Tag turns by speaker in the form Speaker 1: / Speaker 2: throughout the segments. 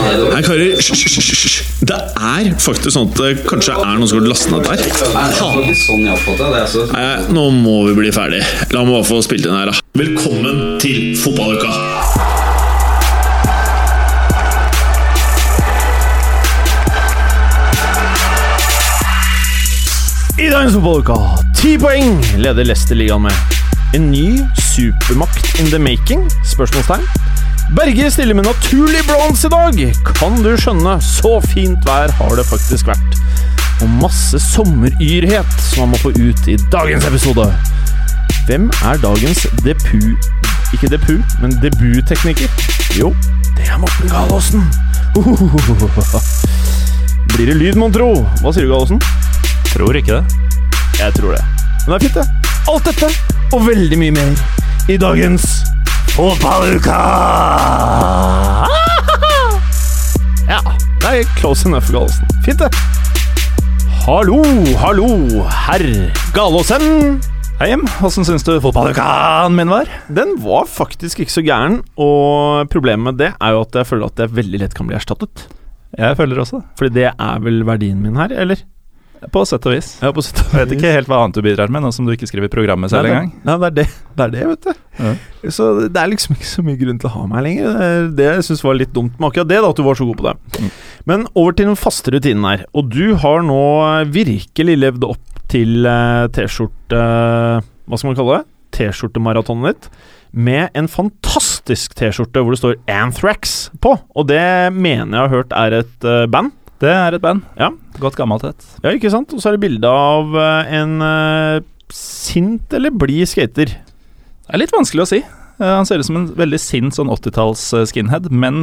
Speaker 1: hører hysj, hysj, hysj, hysj. Det er faktisk sånn at det kanskje er noen som har lastet ned der.
Speaker 2: ikke sånn jeg har fått det. det er så...
Speaker 1: Nei, nå må vi bli ferdig. La meg bare få spilt inn her, da. Velkommen til fotballuka!
Speaker 3: I dagens fotballuka, ti poeng leder Leicester ligaen med. En ny supermakt in the making? Spørsmålstegn. Berge stiller med naturlig bronse i dag. Kan du skjønne, så fint vær har det faktisk vært. Og masse sommeryrhet som man må få ut i dagens episode. Hvem er dagens depu... Ikke depu, men debuttekniker? Jo, det er Morten Galaasen. Blir det lyd, mon tro? Hva sier du, Galaasen?
Speaker 4: Tror ikke det.
Speaker 3: Jeg tror det. Men det er fint, det. Alt dette og veldig mye mer i dagens Fotballuka! Ja, det er close enough, Gallosen. Fint, det. Hallo, hallo, herr Gallosen.
Speaker 4: Hei, Jim. Åssen syns du fotballukaen min var?
Speaker 3: Den var faktisk ikke så gæren, og problemet med det er jo at jeg føler at jeg veldig lett kan bli erstattet.
Speaker 4: Jeg føler også det.
Speaker 3: Fordi det er vel verdien min her, eller?
Speaker 4: På sett og vis.
Speaker 3: Ja, på sett og
Speaker 4: Jeg vet ikke helt hva annet du bidrar med, nå som du ikke skriver programmet selv
Speaker 3: Nei,
Speaker 4: engang.
Speaker 3: det- Nei, det er det, det er det, vet du. Så det er liksom ikke så mye grunn til å ha meg lenger. Det er Det jeg syns var litt dumt med akkurat det, da, at du var så god på det. Men over til den faste rutinen her. Og du har nå virkelig levd opp til eh, T-skjorte eh, Hva skal man kalle det? T-skjortemaratonet ditt. Med en fantastisk T-skjorte hvor det står Anthrax på. Og det mener jeg har hørt er et eh, band.
Speaker 4: Det er et band.
Speaker 3: Ja.
Speaker 4: Godt gammelt et.
Speaker 3: Ja, ikke sant? Og så er det bilde av eh, en eh, sint eller blid skater.
Speaker 4: Det er litt vanskelig å si. Eh, han ser ut som en veldig sint sånn 80-talls eh, skinhead, men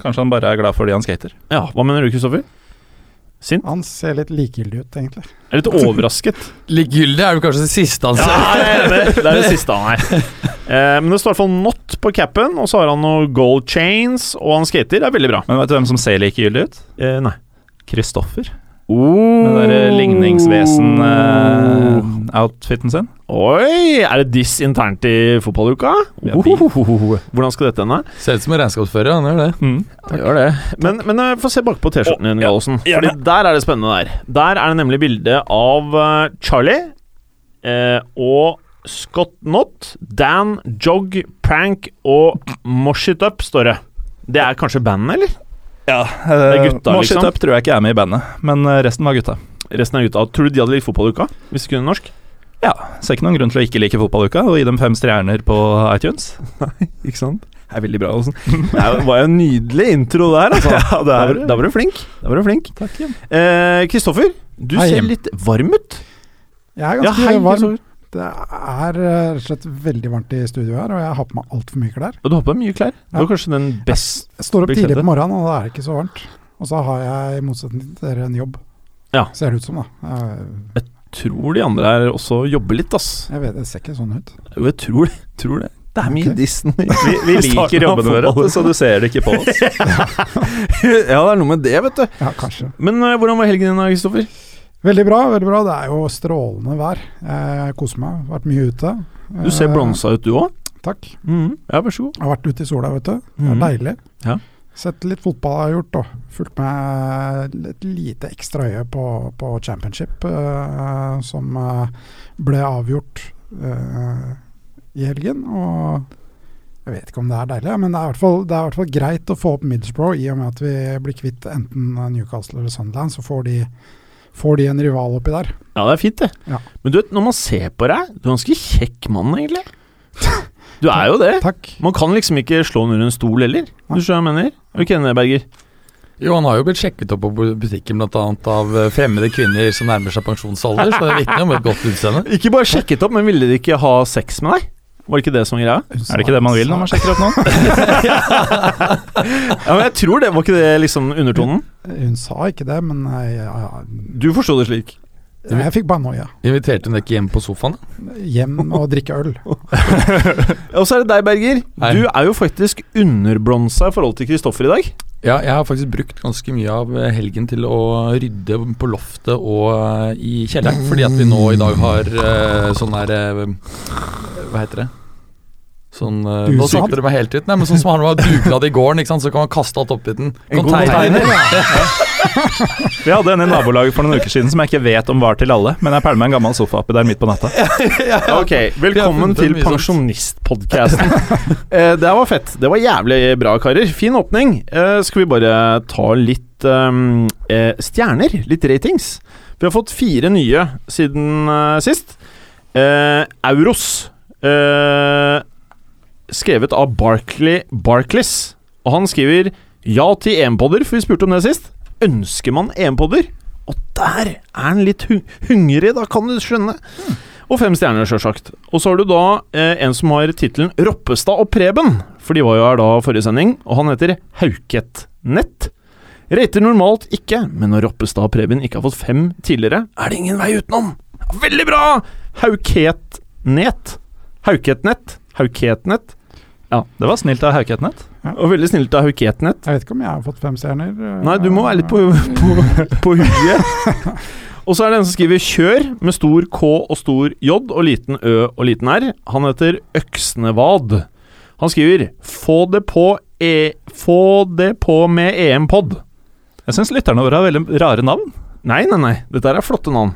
Speaker 4: kanskje han bare er glad fordi han skater.
Speaker 3: Ja, hva mener du, Kristoffer? Sint?
Speaker 5: Han ser litt likegyldig ut, egentlig.
Speaker 3: Jeg er litt overrasket.
Speaker 6: Likegyldig er vel kanskje det siste han
Speaker 3: Ja, jeg
Speaker 6: ser.
Speaker 3: er enig. det er det siste han er. Eh, men det står i hvert fall not på capen, og så har han noe gold chains, og han skater. Det er veldig bra.
Speaker 4: Men vet du hvem som ser likegyldig ut?
Speaker 3: Eh, nei.
Speaker 4: Kristoffer.
Speaker 3: Oh.
Speaker 4: Med den der eh, ligningsvesen-outfiten sin.
Speaker 3: Oi! Er det diss internt i fotballuka?
Speaker 4: Ja, de-
Speaker 3: Ohohoho. Hvordan skal dette ende?
Speaker 6: Ser ut som en regnskapsfører, han gjør det.
Speaker 4: Mm.
Speaker 3: Gjør det. Men, men eh, få se bakpå T-skjorten din, Gallosen. Fordi der er det spennende der. Der er det nemlig bilde av eh, Charlie eh, og Scott Knott, Dan, Jog, Prank og Mosh It Up, står det. Det er kanskje bandet, eller?
Speaker 4: Ja,
Speaker 3: er
Speaker 4: uh,
Speaker 3: gutta,
Speaker 4: Mosh It
Speaker 3: liksom.
Speaker 4: Up tror jeg ikke er med i bandet, men eh, resten var gutta.
Speaker 3: Resten er gutta. Tror du de hadde likt fotballuka hvis de kunne norsk?
Speaker 4: Ja, ser ikke noen grunn til å ikke like fotballuka og gi dem fem stjerner på iTunes.
Speaker 3: Ikke sant? Det er veldig bra. altså. Olsen. Det er- var jo en nydelig intro der, altså. da, var, du- da var du flink. Da var du flink.
Speaker 4: Takk, Jim.
Speaker 3: Eh, Kristoffer, du
Speaker 6: Hei,
Speaker 3: ser
Speaker 6: Jim.
Speaker 3: litt varm ut.
Speaker 5: Jeg er
Speaker 3: Ja,
Speaker 5: ganske
Speaker 3: hei,
Speaker 5: varm. Det er eh, rett og slett veldig varmt i studio her, og jeg har på meg altfor mye klær.
Speaker 3: Og du har på deg mye klær. Du
Speaker 5: Ja.
Speaker 3: har kanskje den best
Speaker 5: Jeg står opp
Speaker 3: Blir
Speaker 5: tidlig
Speaker 3: kledde.
Speaker 5: på morgenen, og da er det ikke så varmt. Og så har jeg, i motsetning til dere, en jobb.
Speaker 3: Ja.
Speaker 5: Ser det ut som, da. Jeg,
Speaker 3: Tror de andre her også jobber litt, ass.
Speaker 5: jeg vet, det ser ikke sånn ut.
Speaker 3: Jo, jeg tror det. Tror det. Det er mye
Speaker 5: Ok.
Speaker 3: dissen. Vi,
Speaker 4: Vi liker jobbene våre, så du ser det ikke på oss.
Speaker 3: ja, det er noe med det, vet du.
Speaker 5: Ja, kanskje.
Speaker 3: Men eh, hvordan var helgen din, da, Kristoffer?
Speaker 5: Veldig bra, veldig bra. Det er jo strålende vær. Jeg koser meg. Vært mye ute.
Speaker 3: Du ser
Speaker 5: Eh,
Speaker 3: blonsa ut, du òg.
Speaker 5: Takk.
Speaker 3: Ja, vær så god.
Speaker 5: Jeg har vært ute i sola, vet du. Det er
Speaker 4: Mm.
Speaker 3: Mhm.
Speaker 5: deilig.
Speaker 3: Ja.
Speaker 5: Sett litt fotball jeg har gjort, da. Fulgt med et lite ekstra øye på, på championship, eh, som eh, ble avgjort eh, i helgen. Og jeg vet ikke om det er deilig, men det er i hvert fall, det er i hvert fall greit å få opp Middlesbrough, i og med at vi blir kvitt enten Newcastle eller Sunderland, så får de, får de en rival oppi der.
Speaker 3: Ja, det er fint, det.
Speaker 5: Ja.
Speaker 3: Men du vet, når man ser på deg, du er en ganske kjekk mann, egentlig. Du er jo det.
Speaker 5: Takk.
Speaker 3: Man kan liksom ikke slå den under en stol heller. Du skjønner hva jeg mener? Er du ikke enig, Berger?
Speaker 6: Jo, han har jo blitt sjekket opp på bu- butikken bl.a. av eh, fremmede kvinner som nærmer seg pensjonsalder, så det vitner om et godt utseende.
Speaker 3: Ikke bare sjekket opp, men ville de ikke ha sex med deg? Var det ikke det som var greia?
Speaker 4: Er det ikke det man vil når man sjekker opp nå?
Speaker 3: Ja, men jeg tror det. Var ikke det liksom undertonen?
Speaker 5: Hun sa ikke det, men jeg, jeg,
Speaker 3: Du forsto det slik.
Speaker 5: jeg, jeg fikk bare noia.
Speaker 6: Inviterte hun deg ikke hjem på sofaen? da?
Speaker 5: Hjem og drikke øl.
Speaker 3: Og så er det deg, Berger.
Speaker 6: Hei.
Speaker 3: Du er jo faktisk underbronsa i forhold til Kristoffer i dag.
Speaker 6: Ja, jeg har faktisk brukt ganske mye av eh, helgen til å rydde på loftet og eh, i kjelleren, fordi at vi nå i dag har eh, sånn der eh, Hva heter det? Sånn, eh,
Speaker 5: Dugnad?
Speaker 6: nå snakker du meg helt ut. Nei, men sånn som han var dugnad i gården, ikke sant? så kan man kaste alt oppi den.
Speaker 3: En god
Speaker 6: Container.
Speaker 4: Vi hadde en i nabolaget for noen uker siden som jeg ikke vet om var til alle, men jeg pælma en gammel sofa oppi der midt på natta.
Speaker 3: Ok, Velkommen
Speaker 6: funnet
Speaker 3: til
Speaker 6: mye sånn sånt.
Speaker 3: pensjonistpodkasten. Eh, det her var fett. Det var jævlig bra, karer. Fin åpning. Eh, skal vi bare ta litt ehm, eh, stjerner? Litt ratings? Vi har fått fire nye siden eh, sist. Eh, Euros. Eh, skrevet av Barkley Barclays. Og han skriver ja til EM-podder, for vi spurte om det sist. Ønsker man EM-podder? Og der er han litt hun hungrig, da kan du skjønne. Og fem stjerner, sjølsagt. Og så har du da eh, en som har tittelen Roppestad og Preben, for de var jo her da forrige sending, og han heter Hauketnett. Rater normalt ikke, men når Roppestad og Preben ikke har fått fem tidligere, er det ingen vei utenom. Veldig bra! Hauketnet. Hauketnett. Hauketnett.
Speaker 4: Det var snilt av Hauketnett.
Speaker 3: Og veldig snilt av Hauketnett.
Speaker 5: Jeg vet ikke om jeg har fått fem stjerner. eh,
Speaker 3: Nei, du må være litt på, på, på huet. Og så er det en som skriver 'kjør' med stor K og stor J og liten Ø og liten R. Han heter Øksnevad. Han skriver 'få det på, e få det på med E EM-pod'.
Speaker 4: Jeg syns lytterne våre har veldig rare navn.
Speaker 3: Nei, nei, nei. Dette her er flotte navn.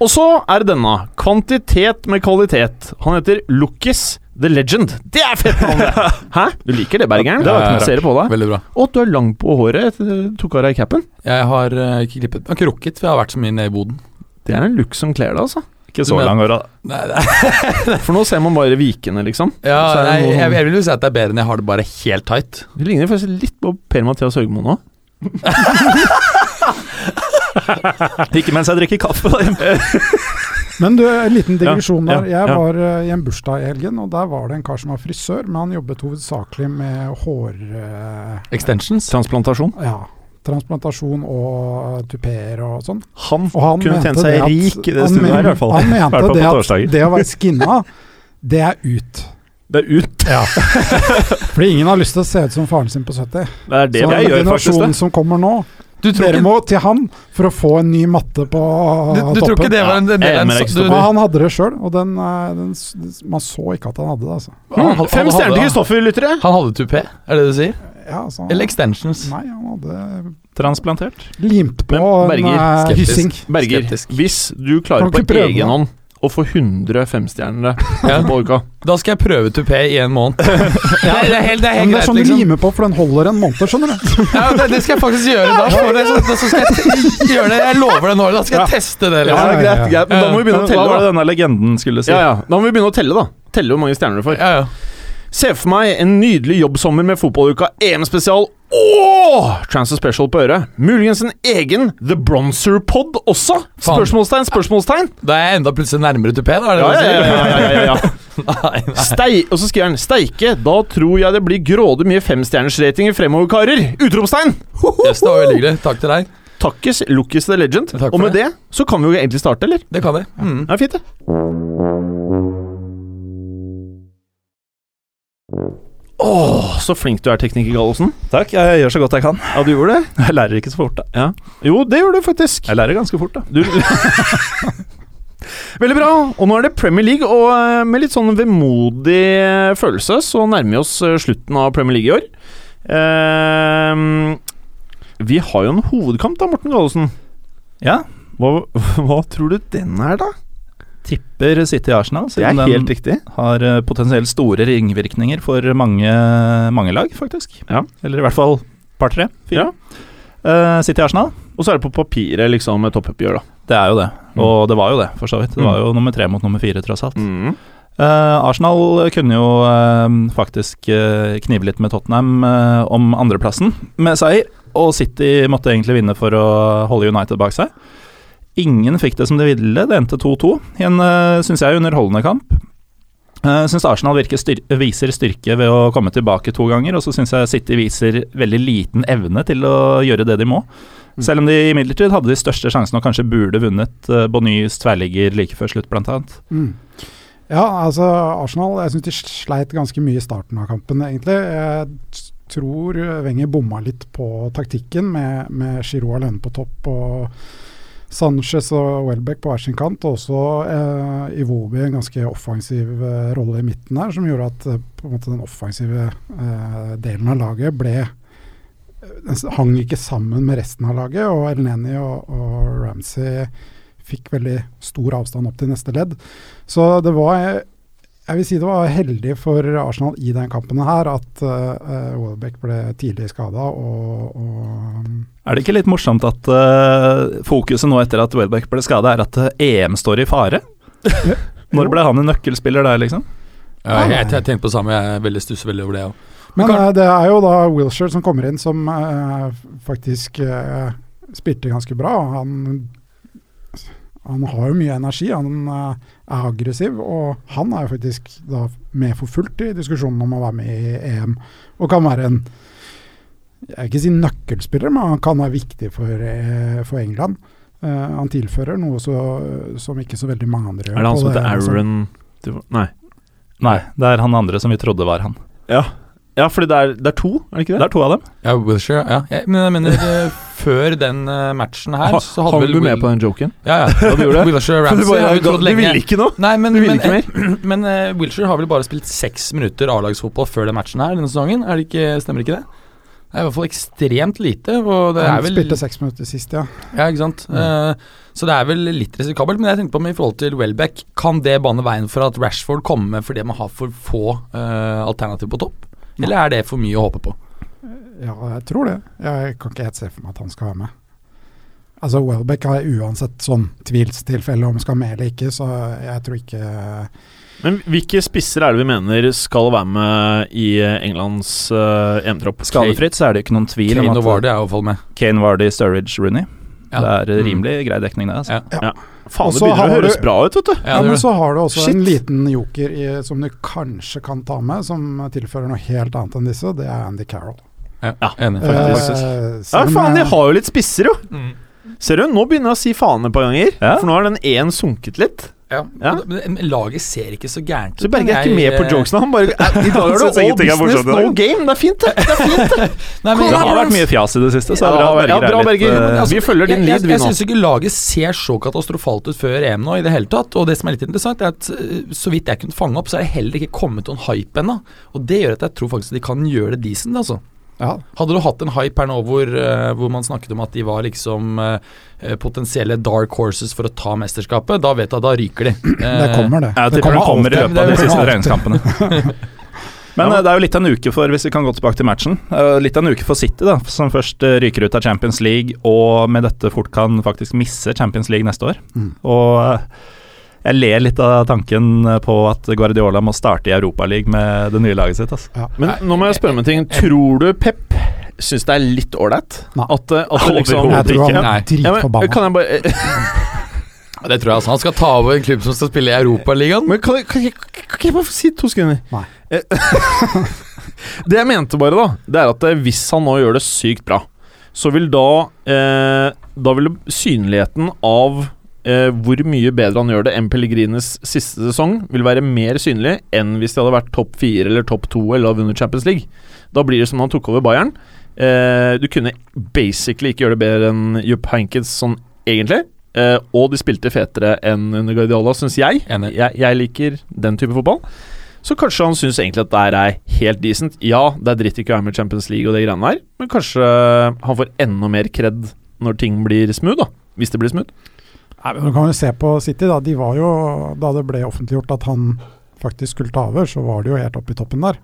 Speaker 3: Og så er det denne. Kvantitet med kvalitet. Han heter Lukkis The Legend. Det er fett navn, det! Hæ? Du liker det, Bergeren?
Speaker 6: Det var ikke noe
Speaker 3: Ser det på deg.
Speaker 6: Veldig bra.
Speaker 3: Å, du er lang på håret. Tok av deg capen.
Speaker 6: Jeg har eh, ikke klippet Jeg har ikke rukket, for jeg har vært så mye nede i boden.
Speaker 3: Det er en look som kler deg, altså.
Speaker 4: Ikke så
Speaker 6: Men-
Speaker 4: lang år, da.
Speaker 6: Nei, det er,
Speaker 3: For nå ser man bare vikene, liksom.
Speaker 6: ja,
Speaker 3: Så er det
Speaker 6: nei,
Speaker 3: noe-
Speaker 6: jeg, jeg vil jo si at det er bedre enn jeg har det bare helt tight.
Speaker 3: Du ligner faktisk litt på Per-Mathias Høgmo nå.
Speaker 4: Ikke mens jeg drikker kaffe. da.
Speaker 5: Men du, en liten digresjon
Speaker 4: Ja,
Speaker 5: der.
Speaker 4: ja,
Speaker 5: Jeg
Speaker 4: ja.
Speaker 5: var eh, i en bursdag i helgen, og der var det en kar som var frisør, men han jobbet hovedsakelig med hår... eh,
Speaker 6: Extensions.
Speaker 3: Transplantasjon.
Speaker 5: Ja, transplantasjon og tupeer og sånn.
Speaker 4: Han
Speaker 5: Og han
Speaker 4: kunne
Speaker 5: mente
Speaker 4: tjent seg
Speaker 5: det at-
Speaker 4: rik i det
Speaker 5: han
Speaker 4: studioet
Speaker 5: men-
Speaker 4: her, i hvert fall.
Speaker 5: Han mente
Speaker 4: hvert fall på
Speaker 5: det
Speaker 4: torsdager.
Speaker 5: at det å være skinna, det er ut.
Speaker 4: Det er ut.
Speaker 5: Fordi ingen har lyst til å se ut som faren sin på 70.
Speaker 4: Det er det jeg gjør,
Speaker 5: Så den
Speaker 4: faktisk.
Speaker 5: generasjonen
Speaker 4: det
Speaker 5: som kommer nå,
Speaker 6: Du tror
Speaker 5: dere
Speaker 6: ikke,
Speaker 5: må til han for å få en ny matte på
Speaker 6: du, du tror ikke
Speaker 5: toppen.
Speaker 6: det var en en del
Speaker 4: Ja, jeg
Speaker 6: av en
Speaker 4: er med deg,
Speaker 6: så- du-
Speaker 5: Men han hadde det sjøl, og den, eh, den, s- man så ikke at han hadde det. Altså.
Speaker 6: han- han-
Speaker 3: Hmm, Fem
Speaker 6: han hadde-
Speaker 3: stjerner til Kristoffer, lyttere!
Speaker 6: Han hadde tupé, er det det du sier?
Speaker 5: Ja, altså,
Speaker 6: Eller extensions?
Speaker 5: Nei, han hadde
Speaker 4: Transplantert.
Speaker 5: limt på
Speaker 3: Men
Speaker 5: en
Speaker 3: Berger,
Speaker 5: eh,
Speaker 6: skeptisk.
Speaker 5: hyssing.
Speaker 3: Berger,
Speaker 6: Skeptisk.
Speaker 3: hvis du klarer
Speaker 5: Kan
Speaker 3: på
Speaker 5: ikke prøve det.
Speaker 3: egen hånd å få 100 femstjernere
Speaker 6: Ja.
Speaker 3: på uka
Speaker 6: Da skal jeg prøve tupé i en måned. Nei, det er helt, det er
Speaker 5: Men det er
Speaker 6: helt greit,
Speaker 5: sånn du
Speaker 6: liksom.
Speaker 5: limer på, for den holder en måned, skjønner du.
Speaker 6: Ja, det, det skal jeg faktisk gjøre. Da, for det, så, da så skal jeg te- gjøre det. Jeg lover det nå. Da skal jeg teste det.
Speaker 5: Ja,
Speaker 6: Liksom.
Speaker 5: ja, ja.
Speaker 3: Men da må vi begynne å
Speaker 4: Hva
Speaker 3: telle,
Speaker 4: var det
Speaker 3: da.
Speaker 4: denne legenden skulle si?
Speaker 3: Ja, ja. Da må vi begynne å telle, da. Telle hvor mange stjerner du får.
Speaker 6: Ja, ja.
Speaker 3: Se for meg en nydelig jobbsommer med fotballuka, EM-spesial og Transfer Special på øret. Muligens en egen The Bronzer Pod også?
Speaker 6: Faen.
Speaker 3: Spørsmålstegn, spørsmålstegn.
Speaker 6: Da er jeg enda plutselig nærmere tupé, da. Er det
Speaker 3: Ja,
Speaker 6: det
Speaker 3: ja,
Speaker 6: du sier?
Speaker 3: ja, ja, ja, ja.
Speaker 6: Nei, nei.
Speaker 3: Stei, og så skriver han Steike, da tror jeg det blir grådig mye femstjernersratinger fremover, karer! Utropstegn!
Speaker 6: Yes, det var veldig hyggelig. Takk til deg.
Speaker 3: Takkes Lukkis the Legend.
Speaker 6: Takk for
Speaker 3: Og med det. så kan vi jo egentlig starte, eller?
Speaker 6: Det kan jeg. Mm.
Speaker 3: Det er fint, det. Åh, så flink du er, tekniker Gallosen.
Speaker 4: Takk, jeg gjør så godt jeg kan.
Speaker 3: Ja, du gjorde det?
Speaker 4: Jeg lærer ikke så fort, da.
Speaker 3: Jo, det gjorde du faktisk.
Speaker 4: Jeg lærer ganske fort, da.
Speaker 3: Du Veldig bra. Og nå er det Premier League, og eh, med litt sånn vemodig eh, følelse så nærmer vi oss eh, slutten av Premier League i år. Ehm, vi har jo en hovedkamp da, Morten Gallosen.
Speaker 4: Ja,
Speaker 3: Hva, hva tror du den er, da?
Speaker 4: Tipper City Arsenal,
Speaker 3: Det
Speaker 4: siden
Speaker 3: er
Speaker 4: den
Speaker 3: helt riktig.
Speaker 4: har eh, potensielt store ringvirkninger for mange, mange lag, faktisk.
Speaker 3: Ja.
Speaker 4: Eller i hvert fall par tre, fire. Eh, City Arsenal,
Speaker 3: Og så er det på papiret liksom et toppoppgjør, da.
Speaker 4: det er jo det.
Speaker 3: Mm.
Speaker 4: Og det var jo det, for så vidt. Det var jo nummer tre mot nummer fire, tross alt.
Speaker 3: Mm.
Speaker 4: Eh, Arsenal kunne jo eh, faktisk eh, knive litt med Tottenham eh, om andreplassen med seier, og City måtte egentlig vinne for å holde United bak seg. Ingen fikk det som de ville, det endte 2-2 i en, uh, syns jeg, underholdende kamp. Uh, syns Arsenal virker styr viser styrke ved å komme tilbake to ganger, og så syns jeg City viser veldig liten evne til å gjøre det de må. Selv om de imidlertid hadde de største sjansene og kanskje burde vunnet uh, Bonnys tverrligger like før slutt, blant annet.
Speaker 5: Mm. Ja, altså Arsenal Jeg syns de sleit ganske mye i starten av kampen, egentlig. Jeg t- tror Wenger bomma litt på taktikken med, med Giroud alene på topp og Sanchez og Welbeck på hver sin kant, og også eh, Iwobi en ganske offensiv eh, rolle i midten her, som gjorde at eh, på en måte den offensive eh, delen av laget ble den s- hang ikke sammen med resten av laget, og Elneni og, og Ramsey fikk veldig stor avstand opp til neste ledd. Så det var jeg vil si det var heldig for Arsenal i den kampen her at uh, Welbeck ble tidlig skada og, og
Speaker 4: Er det ikke litt morsomt at eh, fokuset nå etter at Welbeck ble skada, er at eh, EM står i fare? Når ble han en nøkkelspiller der, liksom?
Speaker 6: Ja, jeg, jeg tenkte på det samme, jeg er veldig stusser veldig over det òg.
Speaker 5: Men eh, det er jo da Wilshere som kommer inn, som eh, faktisk eh, spilte ganske bra. Han, han har jo mye energi, han eh, er aggressiv, og han er jo faktisk da med for fullt i diskusjonen om å være med i EM, og kan være en jeg vil ikke si nøkkelspiller, men han kan være viktig for, eh, for England. Eh, han tilfører noe så, som ikke så veldig mange andre gjør.
Speaker 3: Er det han
Speaker 5: på
Speaker 3: som heter
Speaker 5: altså.
Speaker 3: Aaron Nei.
Speaker 4: Nei, det er han andre som vi trodde var han.
Speaker 3: Ja, fordi det er, det er to, er det ikke
Speaker 4: Det
Speaker 3: det?
Speaker 4: er to av dem.
Speaker 6: Ja, Wilshere, ja. Jeg, men jeg mener, eh, før den eh, matchen her, så hadde
Speaker 3: Hang
Speaker 6: vel
Speaker 3: du med
Speaker 6: Will-
Speaker 3: på den joken?
Speaker 6: Ja, ja.
Speaker 3: du gjorde det?
Speaker 6: Wilshere og
Speaker 3: Du
Speaker 6: Ramsey
Speaker 3: bare-
Speaker 6: har jo trodd
Speaker 3: du
Speaker 6: lenge.
Speaker 3: ville ikke nå?
Speaker 6: Nei, men,
Speaker 3: Du ville
Speaker 6: men,
Speaker 3: ikke mer?
Speaker 6: men eh, Wilshere har vel bare spilt seks minutter A-lagsfotball før den matchen her denne sesongen? Er det ikke, stemmer ikke det? Det er i hvert fall ekstremt lite. Og det
Speaker 5: Han
Speaker 6: er vel,
Speaker 5: spilte seks minutter sist, ja.
Speaker 6: ja, ikke sant? Eh, så det er vel litt risikabelt. Men jeg tenkte på om i forhold til Welbeck, kan det bane veien for at Rashford kommer med fordi man har for få eh, alternativ på topp? Eller er det for mye å håpe på?
Speaker 5: Ja, jeg tror det. Jeg kan ikke helt se for meg at han skal være med. Altså, Welbeck har uansett sånn tvilstilfelle om skal med eller ikke, så jeg tror ikke
Speaker 3: Men hvilke spisser er det vi mener skal være med i eh, Englands eh, EM-tropp?
Speaker 4: Skadefritt så er det jo ikke noen tvil
Speaker 6: Kane
Speaker 4: om
Speaker 6: og
Speaker 4: at
Speaker 6: Vardy er i hvert fall med.
Speaker 4: Kane, Vardy, Sturridge, Rooney.
Speaker 6: Ja.
Speaker 4: Det er eh,
Speaker 6: Mm.
Speaker 4: rimelig grei dekning, det. Altså.
Speaker 6: Ja.
Speaker 3: Faen,
Speaker 5: Og
Speaker 3: det
Speaker 5: så
Speaker 3: begynner å
Speaker 5: har du-
Speaker 3: høres bra ut, vet du.
Speaker 5: Ja,
Speaker 6: det
Speaker 5: Men
Speaker 6: gjør det.
Speaker 5: så har du også
Speaker 3: Shit.
Speaker 5: en liten joker i, som du kanskje kan ta med, som tilfører noe helt annet enn disse, og det er Andy Carroll.
Speaker 6: ja, enig, faktisk.
Speaker 5: Eh,
Speaker 3: Ja,
Speaker 5: selv om
Speaker 3: faen, de
Speaker 5: jeg-
Speaker 3: har jo litt spisser, jo.
Speaker 6: Mm.
Speaker 3: Ser du, nå begynner jeg å si faen et par ganger.
Speaker 4: Ja.
Speaker 3: For nå har den én sunket litt.
Speaker 6: Ja.
Speaker 3: Ja.
Speaker 6: og det- Men laget ser ikke så gærent
Speaker 3: Så Berge er
Speaker 6: men
Speaker 3: ikke
Speaker 6: jeg,
Speaker 3: med på
Speaker 6: eh,
Speaker 3: jokesene. Han bare I dag er det
Speaker 1: synes
Speaker 3: all
Speaker 1: ingenting er
Speaker 3: business,
Speaker 1: morsomt i dag.
Speaker 3: no game. Det er fint, det.
Speaker 6: Nei, men,
Speaker 4: Det har vært mye fjas i det siste, så det er bra Berger
Speaker 3: Ja,
Speaker 4: er
Speaker 3: bra,
Speaker 4: litt,
Speaker 3: Berger.
Speaker 4: eh,
Speaker 3: Vi følger din lyd,
Speaker 6: altså, jeg, jeg,
Speaker 3: vi
Speaker 6: jeg
Speaker 3: nå.
Speaker 6: syns ikke laget ser så katastrofalt ut før EM nå i det hele tatt. Og det som er litt interessant, er at eh, så vidt jeg kunne fange opp, så er det heller ikke kommet noen hype ennå. Og det gjør at jeg tror faktisk de kan gjøre det decent, altså.
Speaker 5: Ja,
Speaker 6: Hadde du hatt en hype her nå hvor, eh, hvor man snakket om at de var liksom eh, eh, potensielle dark horses for å ta mesterskapet, da vet jeg at da ryker de.
Speaker 5: det
Speaker 6: Eh,
Speaker 5: kommer, det.
Speaker 4: Jeg tipper den kommer i
Speaker 6: alltid.
Speaker 4: løpet av
Speaker 6: Det
Speaker 4: de
Speaker 6: kommer
Speaker 4: siste
Speaker 5: alltid.
Speaker 4: treningskampene. Men eh, det er jo litt av en uke for hvis vi kan gå tilbake til matchen, eh, litt av en uke for City, da, som først eh, ryker ut av Champions League og med dette fort kan faktisk misse Champions League neste år.
Speaker 5: Mm.
Speaker 4: Og eh, jeg ler litt av tanken eh, på at Guardiola må starte i Europaligaen med det nye laget sitt. Altså.
Speaker 3: Men nå må jeg spørre om en ting. Tror du Pep syns det er litt ålreit?
Speaker 5: Nei.
Speaker 3: At, eh, at det liksom
Speaker 5: Jeg tror han
Speaker 6: Nei.
Speaker 5: er
Speaker 3: Ja, men,
Speaker 5: dritforbanna.
Speaker 3: kan jeg bare
Speaker 6: Ja, det tror jeg altså. Han skal ta over en klubb som skal spille i Europaligaen.
Speaker 3: Men kan, jeg- kan, jeg- kan ikke jeg bare få si to sekunder?
Speaker 5: Nei.
Speaker 3: Eh, det jeg mente bare, da, det er at eh, hvis han nå gjør det sykt bra, så vil da eh, Da vil synligheten av eh, hvor mye bedre han gjør det enn Pellegrines siste sesong, vil være mer synlig enn hvis de hadde vært topp fire eller topp to eller hadde vunnet Champions League. Da blir det som om han tok over Bayern. Eh, du kunne basically ikke gjøre det bedre enn Jupp Hankins sånn egentlig. Eh, og de spilte fetere enn under Guardiola, syns jeg.
Speaker 6: Enig.
Speaker 3: Jeg, jeg liker den type fotball. Så kanskje han syns egentlig at det her er helt decent. Ja, det er dritt ikke å være med i Champions League og de greiene der, men kanskje han får enda mer kred når ting blir smooth, da. Hvis det blir smooth.
Speaker 5: Nei, men Du kan jo se på City, da. De var jo, da det ble offentliggjort at han faktisk skulle ta over, så var de jo helt oppe i toppen der.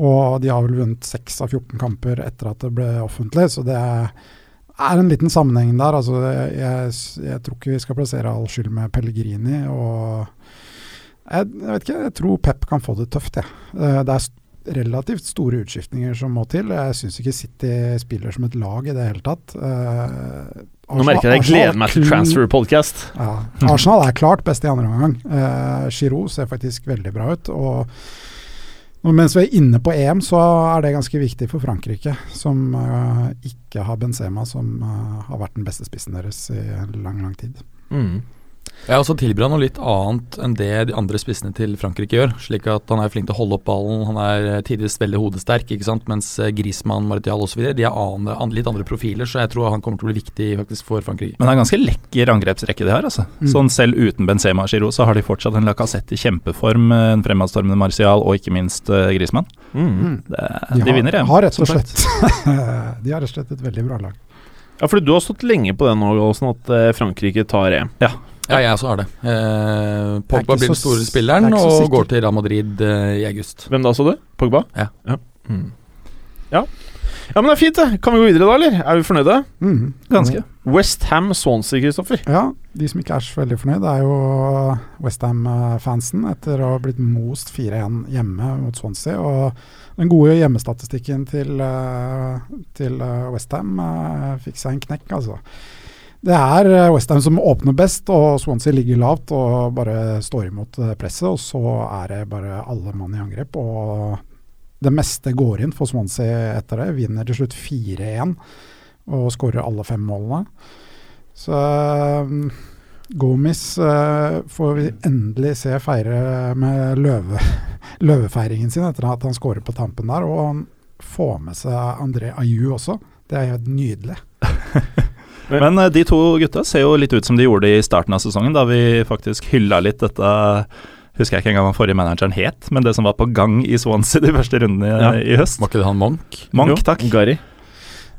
Speaker 5: Og de har vel vunnet 6 av 14 kamper etter at det ble offentlig, så det er en liten sammenheng der. Altså, jeg, jeg tror ikke vi skal plassere all skyld med Pellegrini. Og jeg, jeg vet ikke, jeg tror Pep kan få det tøft, jeg. Eh, Det er st- relativt store utskiftninger som må til. Jeg syns ikke City spiller som et lag i det hele tatt. Eh,
Speaker 3: Nå merker
Speaker 5: Altså,
Speaker 3: jeg at jeg gleder meg til Transfer Podcast.
Speaker 5: ja. Arsenal er klart best i andre omgang. Eh, Giroud ser faktisk veldig bra ut. Og nå mens vi er inne på EM, så er det ganske viktig for Frankrike, som eh,
Speaker 6: Mm.
Speaker 5: ikke har Benzema, som eh, har vært den beste spissen deres i lang, lang tid.
Speaker 6: Ja, og så tilbyr han noe litt annet enn det de andre spissene til Frankrike gjør. Slik at han er flink til å holde opp ballen, han er eh, tidvis veldig hodesterk, ikke sant. Mens eh, Griezmann, Martial osv. de er andre, an- litt andre profiler, så jeg tror han kommer til å bli viktig faktisk for Frankrike.
Speaker 4: Men det er ganske lekker angrepsrekke, det her. altså.
Speaker 5: Mm.
Speaker 4: Sånn Selv uten Benzema og Giroud, så har de fortsatt en Lacassette i kjempeform, eh, en fremadstormende Martial og ikke minst eh, Griezmann.
Speaker 3: Mm.
Speaker 5: Mm.
Speaker 4: Det,
Speaker 5: De
Speaker 4: de
Speaker 5: har-
Speaker 4: vinner, ja.
Speaker 5: Har rett og
Speaker 4: som sagt.
Speaker 5: slett De har rett og slett et veldig bra lag.
Speaker 3: Ja, fordi du har stått lenge på det nå, Olsen, at eh, Frankrike tar EM.
Speaker 6: Ja, jeg også har det. Eh,
Speaker 5: Det er
Speaker 6: Pogba
Speaker 5: ikke
Speaker 6: blir den
Speaker 5: så
Speaker 6: store
Speaker 5: s-
Speaker 6: spilleren
Speaker 5: det er ikke så
Speaker 6: og
Speaker 5: sikkert.
Speaker 6: går til Real Madrid eh, i august.
Speaker 3: Hvem da, så du? Pogba?
Speaker 6: Ja.
Speaker 3: Ja. Mm. ja. Ja, men det er fint, det. Kan vi gå videre da, eller? Er vi fornøyde?
Speaker 5: Mm.
Speaker 4: Ganske.
Speaker 3: Westham Swansea, Kristoffer.
Speaker 5: Ja, de som ikke er så veldig fornøyd, er jo Westham-fansen etter å ha blitt most 4-1 hjemme mot Swansea. Og den gode hjemmestatistikken til, eh, til Westham fikk seg en knekk, altså. Det er Westham som åpner best, og Swansea ligger lavt og bare står imot eh, presset. Og så er det bare alle mann i angrep, og det meste går inn for Swansea etter det. Vinner til slutt 4-1 og skårer alle fem målene. Så um, Gomis eh, får vi endelig se feire med løve, løvefeiringen sin etter at han scorer på tampen der. Og han får med seg André Ayew også. Det er helt nydelig.
Speaker 4: Men eh, de to gutta ser jo litt ut som de gjorde i starten av sesongen, da vi faktisk hylla litt dette Husker jeg ikke engang hva forrige manageren het, men det som var på gang i Swansea de første rundene i-
Speaker 3: Ja.
Speaker 4: i høst.
Speaker 6: Var ikke det han Monk?
Speaker 4: Monk,
Speaker 3: Jo,
Speaker 4: takk.
Speaker 3: Gary.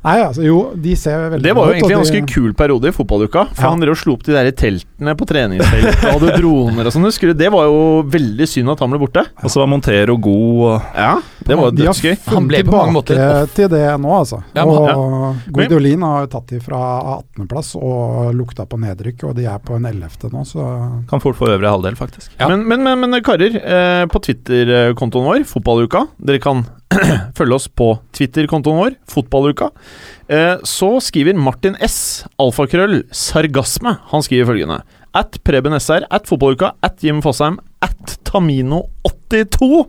Speaker 5: Nei, altså jo, de ser veldig
Speaker 3: Det var jo
Speaker 5: bra ut,
Speaker 3: egentlig en
Speaker 5: og
Speaker 3: ganske kul periode i fotballuka. For
Speaker 5: Ja.
Speaker 3: han drev og slo opp de der teltene på treningsfelt og hadde droner og sånn. Husker du, Det var jo veldig synd at han ble borte.
Speaker 4: Og så var Montero god. og
Speaker 3: Ja, Det var jo
Speaker 5: De har
Speaker 3: dødsgøy.
Speaker 6: Han ble
Speaker 5: funnet
Speaker 6: på mange måter
Speaker 5: tilbake til det nå, altså.
Speaker 6: Ja, men
Speaker 5: og
Speaker 6: han-
Speaker 3: Men-
Speaker 5: Guidolin har jo tatt de fra 18.-plass og lukta på nedrykk, og de er på en 11. nå, så
Speaker 4: Kan fort få øvre halvdel, faktisk.
Speaker 6: Ja.
Speaker 3: Men, men, men, men karer, eh, på Twitter-kontoen vår, Fotballuka Dere kan følge oss på Twitter-kontoen vår, Fotballuka. Eh, så skriver Martin S, alfakrøll, sargasme. Han skriver følgende. At Preben SR, at Fotballuka, at Jim Fosheim, at Tamino82.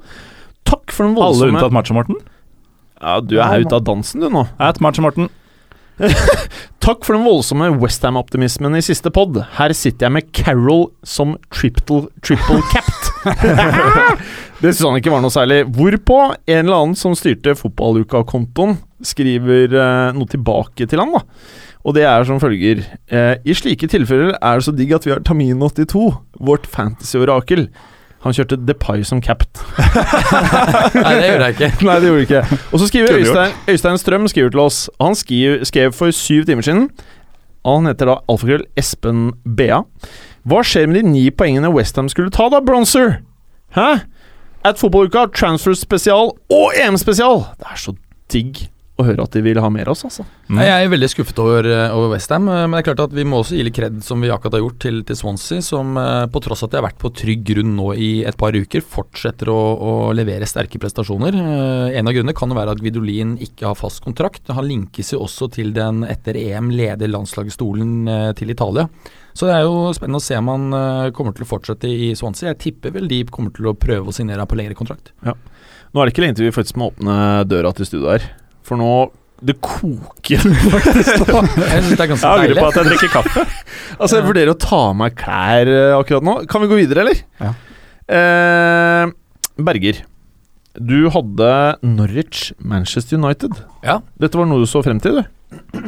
Speaker 3: Takk for den
Speaker 4: Alle
Speaker 3: voldsomme
Speaker 4: unntatt Macho-Morten.
Speaker 3: Ja, du er ute av dansen, du nå.
Speaker 4: At Macho-Morten.
Speaker 3: Takk for den voldsomme Westham-optimismen i siste pod. Her sitter jeg med Carol som triple, triple capped. det synes han ikke var noe særlig. Hvorpå en eller annen som styrte fotballuka-kontoen, skriver eh, noe tilbake til han, da. Og det er som følger eh, I slike tilfeller er det så digg at vi har Tamin82, vårt fantasy-orakel. Han kjørte Depay som capped.
Speaker 6: Nei, det gjør jeg ikke.
Speaker 3: Nei, det gjorde det ikke. Og så skriver
Speaker 4: Kunne gjort.
Speaker 3: Øystein, Øystein Strøm skriver til oss. Han skriver, skrev for syv timer siden. Og han heter da alfakrøll Espen Bea. Hva skjer med de ni poengene Westham skulle ta, da, Bronzer? Hæ? At fotballuka, transfer spesial og EM spesial! Det er så digg å høre at de vil ha mer av oss, altså.
Speaker 4: Mm.
Speaker 6: Nei, Jeg er veldig skuffet over, eh, over Westham, men det er klart at vi må også gi litt kred, som vi akkurat har gjort, til, til Swansea, som eh, på tross av at de har vært på trygg grunn nå i et par uker, fortsetter å, å levere sterke prestasjoner. Eh, En av grunnene kan jo være at Guidolin ikke har fast kontrakt. Han linkes jo også til den etter EM leder landslagsstolen eh, til Italia. Så det er jo spennende å se om han eh, kommer til å fortsette i Swansea. Jeg tipper vel de kommer til å prøve å signere han på lengre kontrakt.
Speaker 3: Nå er det ikke lenge til vi faktisk må åpne døra til studioet her, for nå det koker.
Speaker 6: Jeg synes det er ganske
Speaker 4: Jeg angrer
Speaker 6: deilig.
Speaker 4: på at jeg drikker kaffe.
Speaker 3: Altså, jeg vurderer å ta av meg klær eh, akkurat nå. Kan vi gå videre, eller?
Speaker 5: Ja.
Speaker 3: Eh, Berger, du hadde Norwich Manchester United.
Speaker 6: Ja.
Speaker 3: Dette var noe du så frem til, du.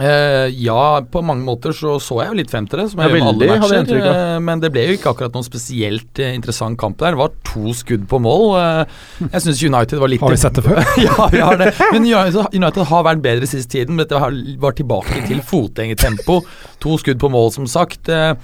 Speaker 6: Eh, ja, på mange måter så så jeg jo litt frem til det, som jeg
Speaker 3: Ja,
Speaker 6: gjør med alle
Speaker 3: veldig, hadde jeg
Speaker 6: matcher.
Speaker 3: inntrykk av.
Speaker 6: eh, men det ble jo ikke akkurat noen spesielt eh, interessant kamp der. Det var to skudd på mål. eh, jeg syns United var litt
Speaker 5: har vi sett det før.
Speaker 6: ja, vi har det. Men United United har vært bedre siste tiden. men Dette har- var tilbake til fotgjengertempo. To skudd på mål, som sagt. Eh,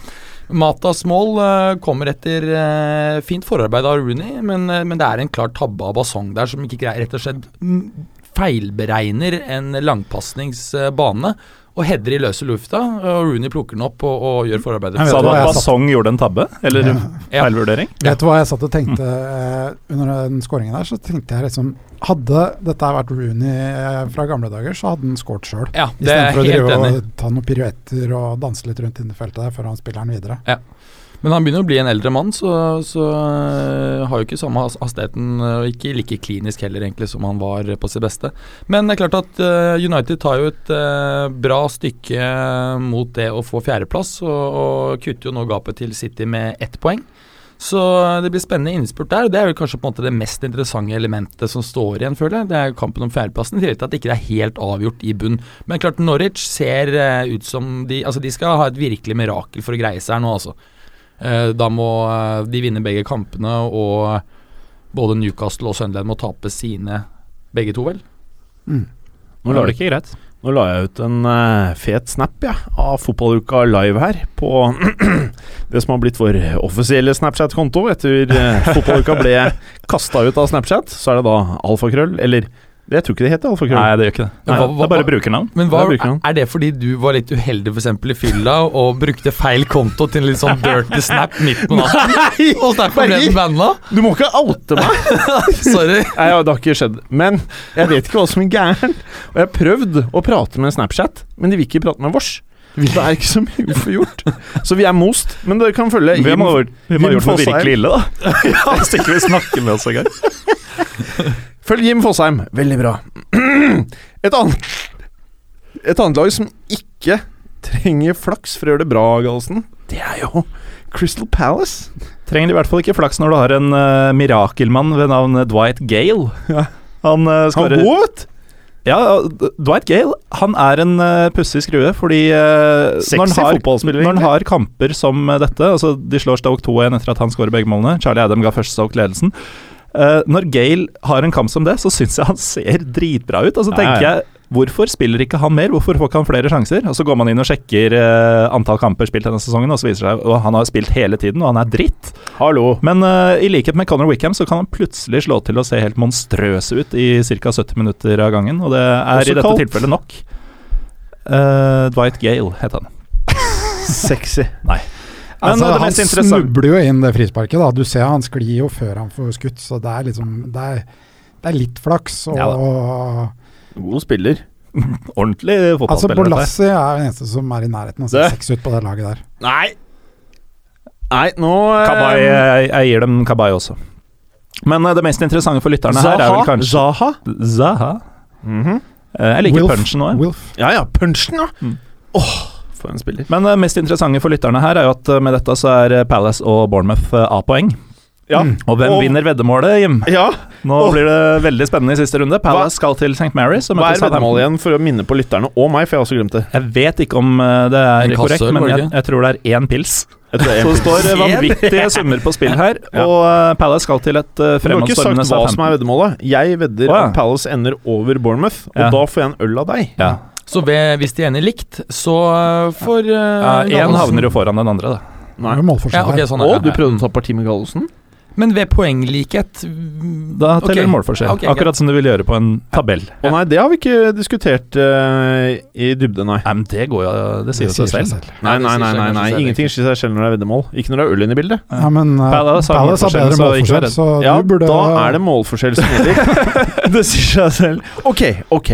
Speaker 6: Matas mål eh, kommer etter eh, fint forarbeid av Rooney, men, eh, men det er en klar tabbe av Basong der som ikke greier rett og slett mm, feilberegner en langpasningsbane og header i løse lufta. Og Rooney plukker den opp og, og gjør forarbeidet.
Speaker 5: Jeg vet
Speaker 4: Sa du
Speaker 5: hva
Speaker 4: at
Speaker 5: jeg sa.
Speaker 4: Basong gjorde en tabbe? Eller
Speaker 6: Ja.
Speaker 4: feilvurdering?
Speaker 5: Vet du hva jeg satt og tenkte eh, under den skåringen der? Så tenkte jeg liksom Hadde dette vært Rooney eh, fra gamle dager, så hadde han skåret sjøl.
Speaker 6: Ja, det er jeg
Speaker 5: Istedenfor å
Speaker 6: helt
Speaker 5: drive
Speaker 6: enig i.
Speaker 5: og ta noen piruetter og danse litt rundt inne i feltet der før han spiller den videre.
Speaker 6: Men han begynner å bli en eldre mann, så, så øh, har jo ikke samme has- hastigheten, øh, og ikke like klinisk heller, egentlig, som han var øh, på sitt beste. Men det er klart at øh, United tar jo et øh, bra stykke eh, mot det å få fjerdeplass, og, og kutter jo nå gapet til City med ett poeng. Så eh, det blir spennende innspurt der, og det er vel kanskje på en måte det mest interessante elementet som står igjen, føler jeg. Det er kampen om fjerdeplassen, i tillegg til at det ikke er helt avgjort i bunn. Men klart, Norwich ser eh, ut som de Altså, de skal ha et virkelig mirakel for å greie seg her nå, altså. Eh, da må eh, de vinne begge kampene, og både Newcastle og Sunderland må tape sine begge to, vel?
Speaker 3: Nå lar, det ikke,
Speaker 4: greit.
Speaker 3: nå la jeg ut en eh, fet snap ja, av fotballuka live her på det som har blitt vår offisielle Snapchat-konto. Etter eh, fotballuka ble kasta ut av Snapchat, så er det da alfakrøll, eller Jeg tror ikke det heter alfakrøll.
Speaker 4: Nei, det gjør ikke det.
Speaker 6: Men
Speaker 4: Nei,
Speaker 6: hva- hva-
Speaker 4: det er bare brukernavn.
Speaker 6: Men hva,
Speaker 3: Det bruker han.
Speaker 6: er det fordi du var litt uheldig f.eks. i fylla og brukte feil konto til en litt sånn dirty snap midt på natten?
Speaker 3: Nei!
Speaker 6: Og derfor ble
Speaker 3: Berger!
Speaker 6: den banna?
Speaker 3: Du må ikke oute meg!
Speaker 6: Sorry.
Speaker 3: Nei, ja, det har ikke skjedd. Men jeg vet ikke hva som er gæren. Og jeg har prøvd å prate med Snapchat, men de vil ikke prate med vårs. Det er ikke så mye vi får gjort. Så vi er most, men dere kan følge
Speaker 4: Hvem har, hvem har
Speaker 3: Jim
Speaker 4: gjort noe
Speaker 3: Fosheim.
Speaker 4: virkelig ille, da? Hvis ikke vi snakker med oss engang.
Speaker 3: Følg Jim Fosheim. Veldig bra. Et annet, et annet lag som ikke trenger flaks for å gjøre det bra, Galsen, det er jo Crystal Palace.
Speaker 4: Trenger i hvert fall ikke flaks når du har en eh, mirakelmann ved navn eh, Dwight Gale.
Speaker 3: Ja.
Speaker 4: Han uh,
Speaker 3: Han
Speaker 4: skårer
Speaker 3: går, vet du.
Speaker 4: Ja, D- Dwight Gale han er en uh, pussig skrue, fordi eh,
Speaker 3: Sexy
Speaker 4: når, han har,
Speaker 3: fotballspiller,
Speaker 4: når han
Speaker 3: egentlig.
Speaker 4: har kamper som eh, dette altså De slår Stoke 2-1 etter at han skårer begge målene. Charlie Adam ga først Stoke ledelsen. Eh, når Gale har en kamp som det, så syns jeg han ser dritbra ut. Og så
Speaker 3: Ja,
Speaker 4: tenker
Speaker 3: ja.
Speaker 4: jeg Hvorfor spiller ikke han mer? Hvorfor får ikke han flere sjanser? Og Så går man inn og sjekker eh, antall kamper spilt denne sesongen, og så viser det seg at han har spilt hele tiden, og han er dritt.
Speaker 3: Hallo.
Speaker 4: Men eh, i likhet med Conor Wickham så kan han plutselig slå til å se helt monstrøs ut i ca. 70 minutter av gangen, og det er
Speaker 3: Også
Speaker 4: i dette
Speaker 3: kalt-
Speaker 4: tilfellet nok. Eh, Dwight Gale het han.
Speaker 3: Sexy.
Speaker 4: Men eh,
Speaker 5: Altså,
Speaker 4: det
Speaker 5: han
Speaker 4: mest interessante
Speaker 5: snubler jo inn det frisparket. da Du ser han sklir jo før han får skutt, så det er liksom Det er, det er litt flaks. Og,
Speaker 4: Ja da.
Speaker 3: God spiller.
Speaker 4: Ordentlig
Speaker 5: altså,
Speaker 4: fotballspiller. dette her.
Speaker 5: Bolassi er den eneste som er i nærheten av å se
Speaker 3: Det-
Speaker 5: seks ut på det laget der.
Speaker 3: Nei. Nei, nå eh,
Speaker 4: Kabay, jeg, jeg gir dem Kabay også. Men eh, det mest interessante for lytterne her er vel kanskje
Speaker 3: Zaha.
Speaker 4: Zaha.
Speaker 3: Mhm.
Speaker 4: Eh, jeg liker
Speaker 5: Wilf-
Speaker 4: punchen òg.
Speaker 5: Wilf.
Speaker 3: Ja ja, punchen, ja.
Speaker 4: Mm.
Speaker 3: Åh, for en spiller.
Speaker 4: Men det mest interessante for lytterne her er jo at eh, med dette så er eh, Palace og Bournemouth eh, A-poeng.
Speaker 3: Ja.
Speaker 5: Mm.
Speaker 4: Og hvem
Speaker 3: Og-
Speaker 4: vinner veddemålet, Jim?
Speaker 3: ja.
Speaker 4: Nå
Speaker 3: Åh.
Speaker 4: blir det veldig spennende i siste runde.
Speaker 3: Hva-
Speaker 4: Palace skal til St. Mary's. og
Speaker 3: Hva
Speaker 4: møter
Speaker 3: er veddemålet
Speaker 4: Southampton.
Speaker 3: igjen, for å minne på lytterne og meg, for jeg har også glemt det.
Speaker 4: Jeg vet ikke om eh, det er
Speaker 6: En kasse,
Speaker 4: korrekt, men
Speaker 6: var det
Speaker 4: jeg,
Speaker 6: ikke?
Speaker 4: jeg tror det er én pils.
Speaker 3: Jeg tror det er
Speaker 4: Så
Speaker 3: en
Speaker 4: det står eh,
Speaker 3: pils.
Speaker 4: vanvittige summer på spill her,
Speaker 3: Ja.
Speaker 4: og eh, Palace skal til et eh,
Speaker 3: Du har ikke sagt hva som
Speaker 4: fremadstormende
Speaker 3: er
Speaker 4: Southampton.
Speaker 3: veddemålet. Jeg vedder
Speaker 4: Å, ja.
Speaker 3: at Palace ender over Bournemouth, og
Speaker 4: Ja.
Speaker 3: da får jeg en øl av deg.
Speaker 4: Ja.
Speaker 6: Så ved, hvis de ender likt, så øh, får
Speaker 4: Én
Speaker 6: Én
Speaker 4: Eh, havner jo foran den andre, da.
Speaker 5: Det er jo
Speaker 6: ja,
Speaker 5: målforskjell
Speaker 6: ok,
Speaker 5: her.
Speaker 6: sånn er
Speaker 3: Og
Speaker 6: det.
Speaker 3: du prøvde å ta parti med Gallosen.
Speaker 6: Men ved poenglikhet mm,
Speaker 4: Da teller
Speaker 6: ok.
Speaker 4: målforskjell.
Speaker 6: Ok, greit.
Speaker 4: Akkurat som du vil gjøre på en tabell.
Speaker 3: Å nei, det har vi ikke diskutert eh, i dybde, nei.
Speaker 4: Nei, men det går jo Det sier jo seg selv.
Speaker 3: Nei, nei,
Speaker 6: det sier
Speaker 3: nei,
Speaker 6: seg
Speaker 3: nei,
Speaker 6: kanskje
Speaker 3: nei.
Speaker 6: selv,
Speaker 3: ingenting skjer seg selv når det er veddemål. Ikke når det er øl inne i bildet.
Speaker 5: Ja, men eh,
Speaker 4: Palace
Speaker 5: Palace
Speaker 4: har
Speaker 5: har
Speaker 4: målforskjell,
Speaker 5: bedre
Speaker 4: så ikke vær redd.
Speaker 5: målforskjell, så
Speaker 3: Ja,
Speaker 5: du burde
Speaker 3: da er det målforskjell som gjelder. det sier seg selv. Ok, ok.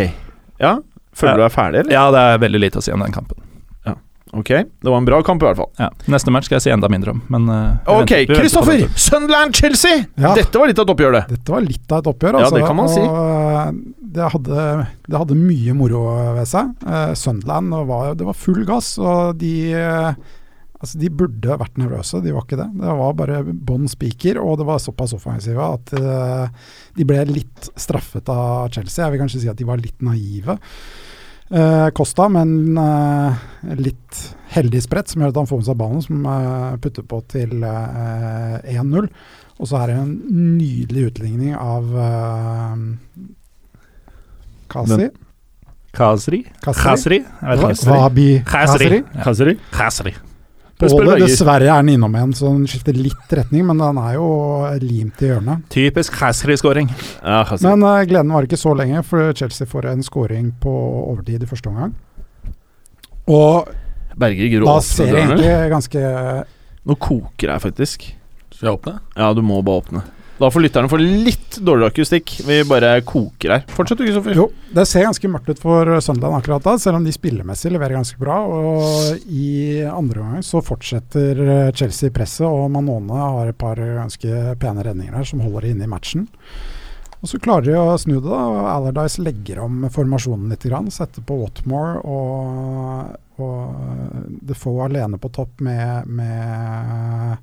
Speaker 3: Ja, føler du deg ferdig, eller?
Speaker 4: Ja, det er veldig lite å si om den kampen.
Speaker 3: Ok, det var en bra kamp i hvert fall.
Speaker 4: Ja. Neste match skal jeg si enda mindre om, men eh,
Speaker 3: Ok,
Speaker 4: vi venter- vi venter på
Speaker 3: Kristoffer!
Speaker 4: det.
Speaker 3: Sunderland-Chelsea!
Speaker 5: Ja.
Speaker 3: Dette var litt av et oppgjør, det.
Speaker 5: Dette var litt av et oppgjør,
Speaker 3: Ja,
Speaker 5: altså.
Speaker 3: det kan man si.
Speaker 5: og, eh, det, hadde, det hadde mye moro ved seg. Eh, Sunderland var, det var full gass, og de eh, Altså, de burde vært nervøse, de var ikke det. Det var bare bånn spiker, og det var såpass offensive at eh, de ble litt straffet av Chelsea. Jeg vil kanskje si at de var litt naive. Eh, Costa, men eh, litt heldig spredt, som gjør at han får med seg ballen, som eh, putter på til eh, 1-0. Og så er det en nydelig utligning av eh, Kasi.
Speaker 4: Kasri?
Speaker 5: Kasi.
Speaker 4: Kasri? Jeg vet ikke.
Speaker 5: Wabi
Speaker 4: Kasri.
Speaker 5: Kasri.
Speaker 4: Ja.
Speaker 3: Kaseri.
Speaker 4: Kasri.
Speaker 5: Ole, dessverre er han innom igjen, så han skifter litt retning, men han er jo limt i hjørnet.
Speaker 4: Typisk Kasri-skåring.
Speaker 3: Ja, Kaseri.
Speaker 5: Men eh, gleden var ikke så lenge, for Chelsea får en scoring på overtid i første omgang. Og
Speaker 3: Berger Gro
Speaker 5: da
Speaker 3: åpner
Speaker 5: ser jeg
Speaker 3: døren, eller?
Speaker 5: egentlig ganske
Speaker 3: Nå koker jeg faktisk.
Speaker 6: Skal jeg åpne?
Speaker 3: Ja, du må bare åpne. Da får lytterne få litt dårligere akustikk. Vi bare koker her. Fortsett du, Kristoffer.
Speaker 5: Jo, det ser ganske mørkt ut for søndagen akkurat da, selv om de spillemessig leverer ganske bra. Og i andre omgang så fortsetter eh, Chelsea presset, og Manone har et par ganske pene redninger her som holder de inne i matchen. Og så klarer de å snu det, da. og Allardyce legger om formasjonen litt. Grann, setter på Watmore og, og Defoe alene på topp med, med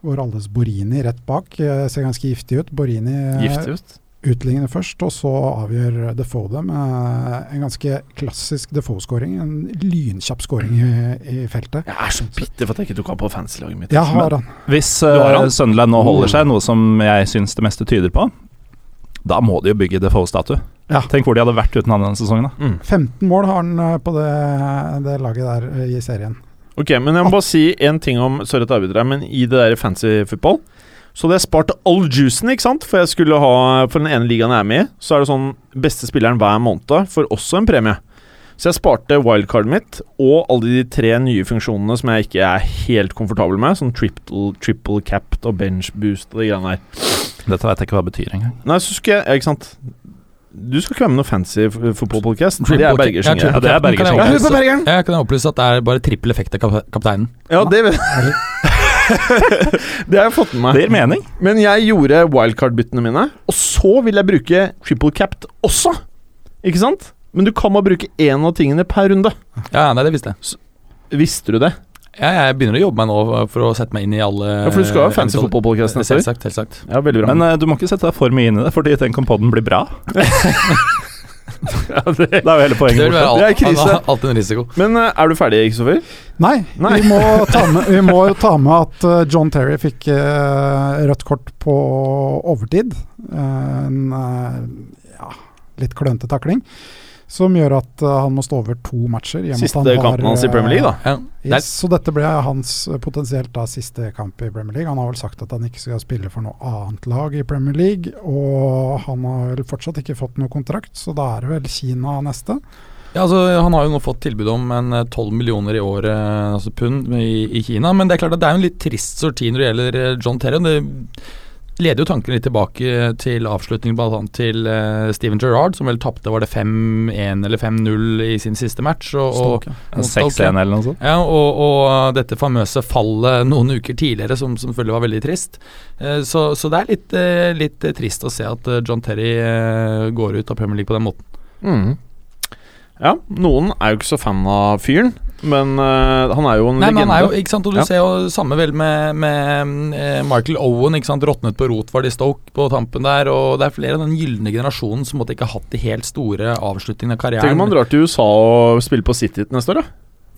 Speaker 5: vår alles Borini rett bak. Eh, Ser ganske giftig ut. Borini eh,
Speaker 3: Giftig ut.
Speaker 5: utligne først, og så avgjør Defoe det med en ganske klassisk Defoe-skåring. En lynkjapp skåring i, i feltet.
Speaker 3: Jeg er så bitter for at jeg ikke tok av på fanslaget mitt.
Speaker 5: Jeg har han.
Speaker 4: Hvis
Speaker 3: har
Speaker 4: uh,
Speaker 3: han. Oh.
Speaker 4: Sunderland nå holder seg, noe som jeg syns det meste tyder på, da må de jo bygge Defoe-statue.
Speaker 5: Ja.
Speaker 4: Tenk hvor de hadde vært uten han denne sesongen. da
Speaker 3: Mm.
Speaker 5: 15 mål har han eh, på det, det laget der eh, i serien.
Speaker 3: Ok, men jeg må bare si en ting om Sorry at jeg avbryter deg, men i det der fancy football så hadde jeg spart all juicen, ikke sant? For jeg skulle ha For den ene ligaen jeg er med i, så er det sånn beste spilleren hver måned får også en premie. Så jeg sparte wildcardet mitt og alle de tre nye funksjonene som jeg ikke er helt komfortabel med, sånn triple, triple capped og bench boost og de greiene der.
Speaker 4: Dette vet jeg ikke hva det betyr engang.
Speaker 3: Nei, så skulle jeg ja, Ikke sant? Du skal ikke være med noen fancy fotballpodkast.
Speaker 6: Triple
Speaker 3: Det er
Speaker 6: cap- ja,
Speaker 3: Bergers sin greie.
Speaker 6: triple
Speaker 4: Ja, det er
Speaker 6: cap, men
Speaker 4: Bergers
Speaker 6: kan jeg
Speaker 4: sin
Speaker 6: opplyse-
Speaker 5: på Bergeren!
Speaker 6: Jeg kan opplyse at det er bare trippel effekt av kap- kapteinen.
Speaker 3: Ja, det vet Det har jeg fått med meg.
Speaker 4: Det gir mening.
Speaker 3: Men jeg gjorde wildcard-byttene mine, og så vil jeg bruke triple capped også. Ikke sant? Men du kan bare bruke én av tingene per runde.
Speaker 6: Ja, ja, nei, det visste jeg.
Speaker 3: Visste du det?
Speaker 6: Ja, jeg begynner å jobbe meg nå for å sette meg inn i alle
Speaker 3: Ja, For du
Speaker 4: Eh,
Speaker 3: skal jo ha fancy
Speaker 6: eventuelle-
Speaker 3: fotballpodkast neste år.
Speaker 6: Selvsagt, selvsagt.
Speaker 3: Ja, veldig bra.
Speaker 4: Men eh, du må ikke sette deg for mye inn i det, Fordi tenk om podden blir bra. eh, Det er jo hele
Speaker 6: Det
Speaker 4: poenget.
Speaker 6: vil være
Speaker 4: borte.
Speaker 6: alt,
Speaker 3: Det er krise.
Speaker 6: alltid en risiko.
Speaker 3: Men eh, er du ferdig, Kristoffer?
Speaker 5: Nei,
Speaker 3: Nei.
Speaker 5: Vi, må ta med, vi må jo ta med at eh, John Terry fikk eh, rødt kort på overtid. Eh, en eh, ja, litt klønete takling. Som gjør at eh, han må stå over to matcher. i og med at
Speaker 3: Siste
Speaker 5: han har, eh,
Speaker 3: kampen hans i Premier League, da.
Speaker 6: Ja. Det
Speaker 5: Yes,
Speaker 6: er,
Speaker 5: så dette ble hans eh, potensielt da siste kamp i Premier League. Han har vel sagt at han ikke skal spille for noe annet lag i Premier League, og han har vel fortsatt ikke fått noe kontrakt, så da er det vel Kina neste.
Speaker 6: ja, altså, han har jo nå fått tilbud om en eh, 12 millioner i året, eh, altså pund, i, i Kina. Men det er klart at det er jo en litt trist sorti når det gjelder eh, John Terry. og Det leder jo tanken litt tilbake eh, til avslutningen bl.a. til eh, Steven Gerrard, som vel tapte var det 5-1 eller 5-0 i sin siste match. Og, og,
Speaker 5: Stoke.
Speaker 4: Ja, 6-1 eller noe sånt.
Speaker 6: Ja, og, og dette famøse fallet noen uker tidligere, som som selvfølgelig var veldig trist. Eh, Så, så det er litt, eh, litt eh, trist å se at eh, John Terry eh, går ut av Premier League på den måten.
Speaker 3: Mm. Ja, noen er jo ikke så fan av fyren, men eh, han er jo en
Speaker 6: Nei, men han
Speaker 3: legende.
Speaker 6: er jo, ikke sant, og Du
Speaker 3: Ja.
Speaker 6: ser jo samme vel med, med eh, Michael Owen. ikke sant, Råtnet på rot var de Stoke på tampen der. og Det er flere av den gylne generasjonen som måtte ikke har hatt de helt store avslutningene av
Speaker 3: Tenk om han
Speaker 6: karrieren.
Speaker 3: drar til USA og spiller på City neste år, da.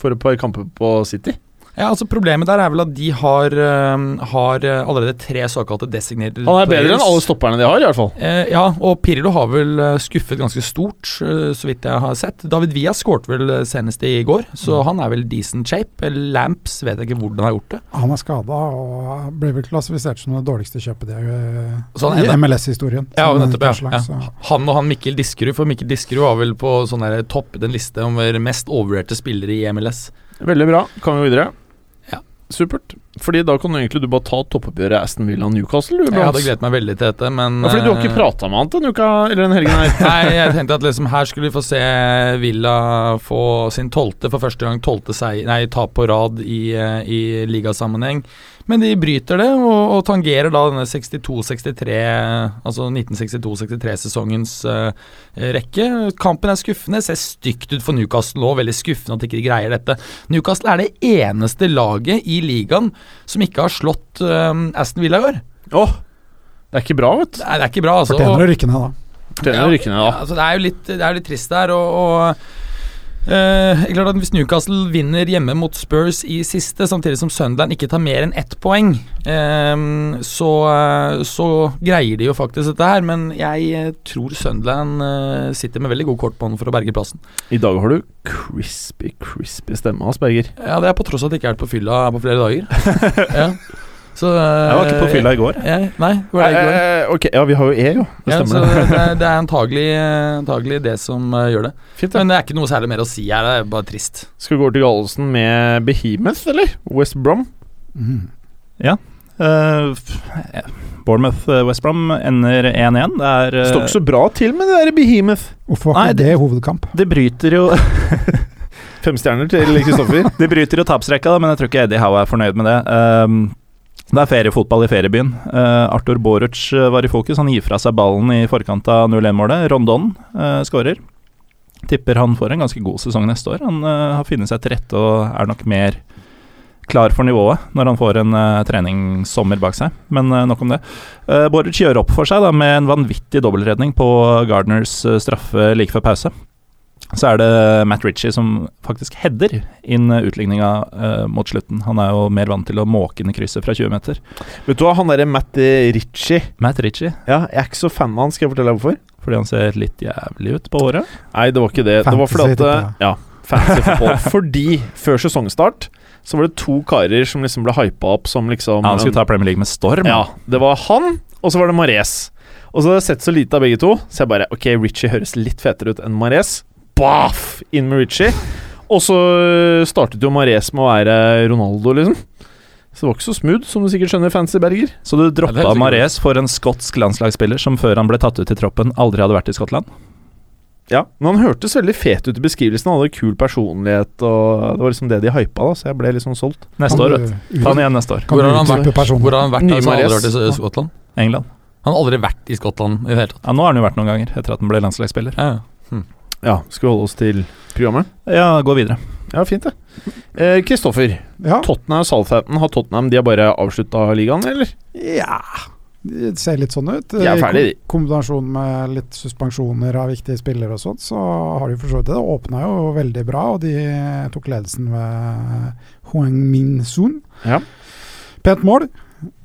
Speaker 3: For et par kamper på City.
Speaker 6: Ja, altså Problemet der er vel at de har, eh, har eh, allerede tre såkalte designated
Speaker 3: Han er bedre enn
Speaker 6: players.
Speaker 3: alle stopperne de har, i hvert fall.
Speaker 6: Eh, ja, og Pirlo har vel eh, skuffet ganske stort, eh, så vidt jeg har sett. David Villa skårte vel eh, senest i går,
Speaker 3: Mm.
Speaker 6: så han er vel decent shape. Eh, Lamps vet jeg ikke hvordan han har gjort det.
Speaker 5: Han er skada og ble vel klassifisert som det dårligste kjøpet de, eh,
Speaker 6: Så han
Speaker 5: i
Speaker 6: er da-
Speaker 5: MLS-historien.
Speaker 6: Ja,
Speaker 5: Som
Speaker 6: nettopp, ja,
Speaker 5: forslag,
Speaker 6: ja.
Speaker 5: så-
Speaker 6: Han og han Mikkel Diskerud, for Mikkel Diskerud var vel på sånn der topp den liste over mest overvurderte spillere i MLS.
Speaker 3: Veldig bra. Kan vi gå videre?
Speaker 6: Ja.
Speaker 3: Supert. Fordi da kan du egentlig du bare ta toppoppgjøret Aston Villa Newcastle. Du,
Speaker 6: Jeg hadde
Speaker 3: Brans.
Speaker 6: gledet meg veldig til dette, men
Speaker 3: ja, fordi du har ikke
Speaker 6: eh,
Speaker 3: prata med han til en uke eller en helgen her.
Speaker 6: Nei, jeg tenkte at liksom her skulle vi få se Villa få sin tolvte for første gang tolvte seier, nei, tap på rad i, eh, i ligasammenheng. Men de bryter det, og, og tangerer da denne 62-63, altså 1962-63-sesongens eh, rekke. Kampen er skuffende, ser stygt ut for Newcastle nå, veldig skuffende at de ikke greier dette. Newcastle er det eneste laget i ligaen som ikke har slått eh, Aston Villa i år.
Speaker 3: Åh, det er ikke bra, vet du.
Speaker 6: Nei, det er ikke bra, altså. Og-
Speaker 5: Fortjener å rykke ned, da.
Speaker 3: Trener
Speaker 6: ja,
Speaker 3: rykker ned,
Speaker 6: ja,
Speaker 3: da.
Speaker 6: altså det er jo litt, det er jo litt trist der, og, og eh, det er klart at Hvis Newcastle vinner hjemme mot Spurs i siste, samtidig som Sunderland ikke tar mer enn ett poeng, eh, så, eh, så greier de jo faktisk dette her. Men jeg eh, tror Sunderland eh, sitter med veldig god kort på hånden for å berge plassen.
Speaker 3: I dag har du crispy, crispy stemme, Asperger.
Speaker 6: Ja, Det er på tross av at jeg ikke har vært på fylla på flere dager. ja. Så,
Speaker 4: Jeg var ikke på fylla i går.
Speaker 6: Jeg, nei, hvor er det jeg går?
Speaker 3: Eh, ok, ja, vi har jo E, jo. Det
Speaker 6: Ja, så
Speaker 3: stemmer.
Speaker 6: det, er- det er antagelig, antagelig det som eh, gjør det.
Speaker 3: Fint, det.
Speaker 6: Men det er ikke noe særlig mer å si her, det er bare trist.
Speaker 3: Skal vi gå over til Gallosen med
Speaker 5: Mhm.
Speaker 3: Behemoth, eller? West Brom.
Speaker 5: Mm.
Speaker 4: Eh, f- jeg Bournemouth-Westbrom ender 1-1. Det er eh,
Speaker 3: Står ikke så bra til med det der Behemoth.
Speaker 5: Hvorfor var
Speaker 4: Nei,
Speaker 5: ikke det hovedkamp?
Speaker 4: Det bryter jo
Speaker 3: Fem stjerner til Kristoffer.
Speaker 4: De bryter jo tapsrekka, da, men jeg tror ikke Eddie Howe er fornøyd med det. Ehm, det er feriefotball i feriebyen. Eh, Arthur Boruc eh, var i fokus. Han gir fra seg ballen i forkant av 0-1-målet. Rondon uh, skårer. Tipper han får en ganske god sesong neste år. Han eh, har funnet seg til rette og er nok mer klar for nivået når han får en eh, treningssommer bak seg. Men eh, nok om det. Eh, Boruc gjør opp for seg da, med en vanvittig dobbeltredning på Gardners eh, straffe like før pause. Så er det Matt Ritchie som faktisk header inn utligninga eh, mot slutten. Han er jo mer vant til å måke inn i krysset fra 20 meter.
Speaker 3: Vet du hva, han derre Matt eh, Ritchie
Speaker 4: Matt Ritchie,
Speaker 3: Ja, Jeg er ikke så fan av han, skal jeg fortelle deg hvorfor?
Speaker 4: fordi han ser litt jævlig ut på håret.
Speaker 3: Nei, det var ikke det. det var fordi at
Speaker 5: Fantasy,
Speaker 3: eh, Ja, fancy football. fordi før sesongstart så var det to karer som liksom ble hypa opp som liksom
Speaker 4: han skulle ta Premier League med storm.
Speaker 3: Ja, det var han, og så var det Mares. Og så har jeg sett så lite av begge to, så jeg bare Ok, Ritchie høres litt fetere ut enn Mares. Baff! Inn med Ritchie. Og så eh, startet jo Mares med å være Ronaldo, liksom. Så det var ikke så smooth, som du sikkert skjønner, fancy Berger.
Speaker 4: Så du
Speaker 6: Ja, det er
Speaker 4: droppa
Speaker 6: helt sikkert.
Speaker 4: Mares for en skotsk landslagsspiller som før han ble tatt ut i troppen, aldri hadde vært i Skottland.
Speaker 3: Ja, Men han hørtes veldig fet ut i beskrivelsen. Han hadde kul personlighet, og det var liksom det de hypa, da, så jeg ble liksom solgt.
Speaker 4: Neste år, vet du. Ta han
Speaker 5: igjen.
Speaker 4: igjen neste år.
Speaker 5: Kan
Speaker 6: Hvor har
Speaker 5: du
Speaker 6: han
Speaker 5: utdype personen?
Speaker 6: Hvor har han vært?
Speaker 3: Nye
Speaker 6: Altså, han har
Speaker 3: Marias.
Speaker 6: aldri vært i Sø- Skottland?
Speaker 4: England.
Speaker 6: Han har aldri vært i Skottland i det hele tatt.
Speaker 4: Ja, nå har han jo vært noen ganger, etter at han ble landslagsspiller.
Speaker 6: Ja, ja.
Speaker 3: Ja, Skal vi holde oss til programmet?
Speaker 4: Ja, gå videre.
Speaker 3: Ja, fint, det. Eh, Kristoffer,
Speaker 5: Ja.
Speaker 3: Tottenham og Southampton, har Tottenham de har bare avslutta ligaen, eller?
Speaker 5: ja. Det ser litt sånn ut.
Speaker 3: De er
Speaker 5: I
Speaker 3: ferdig, de.
Speaker 5: kom- kombinasjon med litt suspensjoner av viktige spillere og sånt, så har de for så vidt det. Det åpna jo veldig bra, og de tok ledelsen ved Hoang Min Soon.
Speaker 3: Ja.
Speaker 5: Pent mål.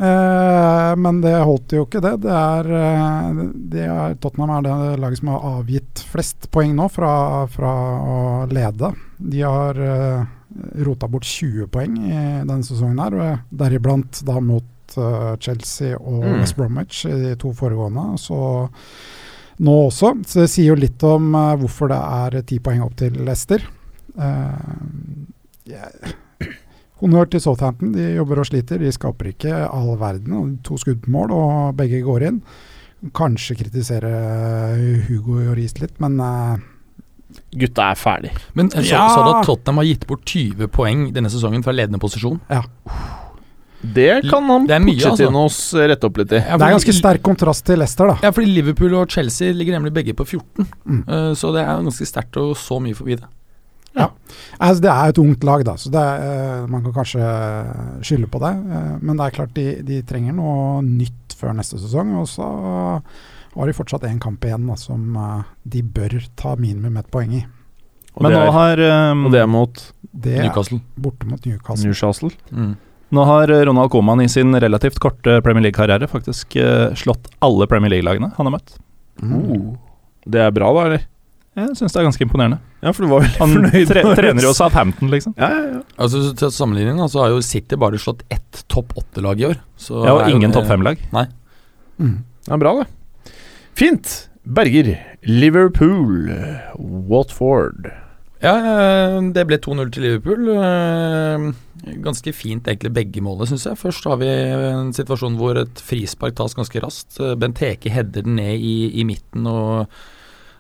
Speaker 5: Eh, men det holdt jo ikke, det. det er, eh, det er, Tottenham er det laget som har avgitt flest poeng nå fra, fra å lede. De har eh, rota bort 20 poeng i denne sesongen, her, og deriblant da mot eh, Chelsea og
Speaker 3: Mm.
Speaker 5: West Bromwich i de to foregående. Så nå også. Så det sier jo litt om eh, hvorfor det er ti poeng opp til Leicester. Eh, jeg- Honnør til Southampton. De jobber og sliter. De skaper ikke all verden. og To skudd på mål, og begge går inn. Kanskje kritisere Hugo Joris litt, men eh,
Speaker 3: Gutta er ferdig.
Speaker 6: Men så,
Speaker 5: Ja.
Speaker 6: sa du at Tottenham har gitt bort 20 poeng denne sesongen fra ledende posisjon?
Speaker 3: Det kan han
Speaker 6: Det er mye,
Speaker 3: Pochettino s- eh, rette opp litt i.
Speaker 6: Ja,
Speaker 5: det er
Speaker 6: fordi-
Speaker 5: ganske sterk kontrast til Leicester, da.
Speaker 6: Ja, fordi Liverpool og Chelsea ligger nemlig begge på 14,
Speaker 5: Mm.
Speaker 6: Eh, så det er ganske sterkt og så mye forbi det.
Speaker 5: Altså, det er jo et ungt lag, da, så det er, eh, man kan kanskje skylde på det. eh, men det er klart de, de trenger noe nytt før neste sesong. Og så har de fortsatt én kamp igjen da, som eh, de bør ta minimum ett poeng i.
Speaker 3: Og
Speaker 4: Men
Speaker 3: det
Speaker 4: nå
Speaker 3: er-
Speaker 4: har, ehm,
Speaker 3: og det er mot
Speaker 5: Det er
Speaker 6: Newcastle.
Speaker 5: borte mot Newcastle.
Speaker 3: Newcastle.
Speaker 6: Mm.
Speaker 4: nå har Ronald Koeman i sin relativt korte Premier League-karriere faktisk eh, slått alle Premier League-lagene han har møtt.
Speaker 5: Mm.
Speaker 3: Oh. Det er bra, da, eller?
Speaker 4: Jeg syns det er ganske imponerende.
Speaker 3: Ja, for du var veldig
Speaker 4: Han
Speaker 3: fornøyd.
Speaker 4: tre
Speaker 3: med-
Speaker 4: trener jo Southampton, liksom.
Speaker 3: Ja, ja, ja.
Speaker 6: Altså, så til sammenligning da, så har jo City bare slått ett topp åtte-lag i år. Så
Speaker 4: Ja, og
Speaker 6: er jo
Speaker 4: ingen
Speaker 6: det-
Speaker 4: topp fem-lag.
Speaker 5: Mm.
Speaker 3: Det er bra, det. Fint. Berger. Liverpool. Watford.
Speaker 6: Ja, eh, det ble 2-0 til Liverpool. Eh, Ganske fint egentlig begge målene, syns jeg. Først har vi en situasjon hvor et frispark tas ganske raskt. Eh, Benteke header den ned i, i midten, og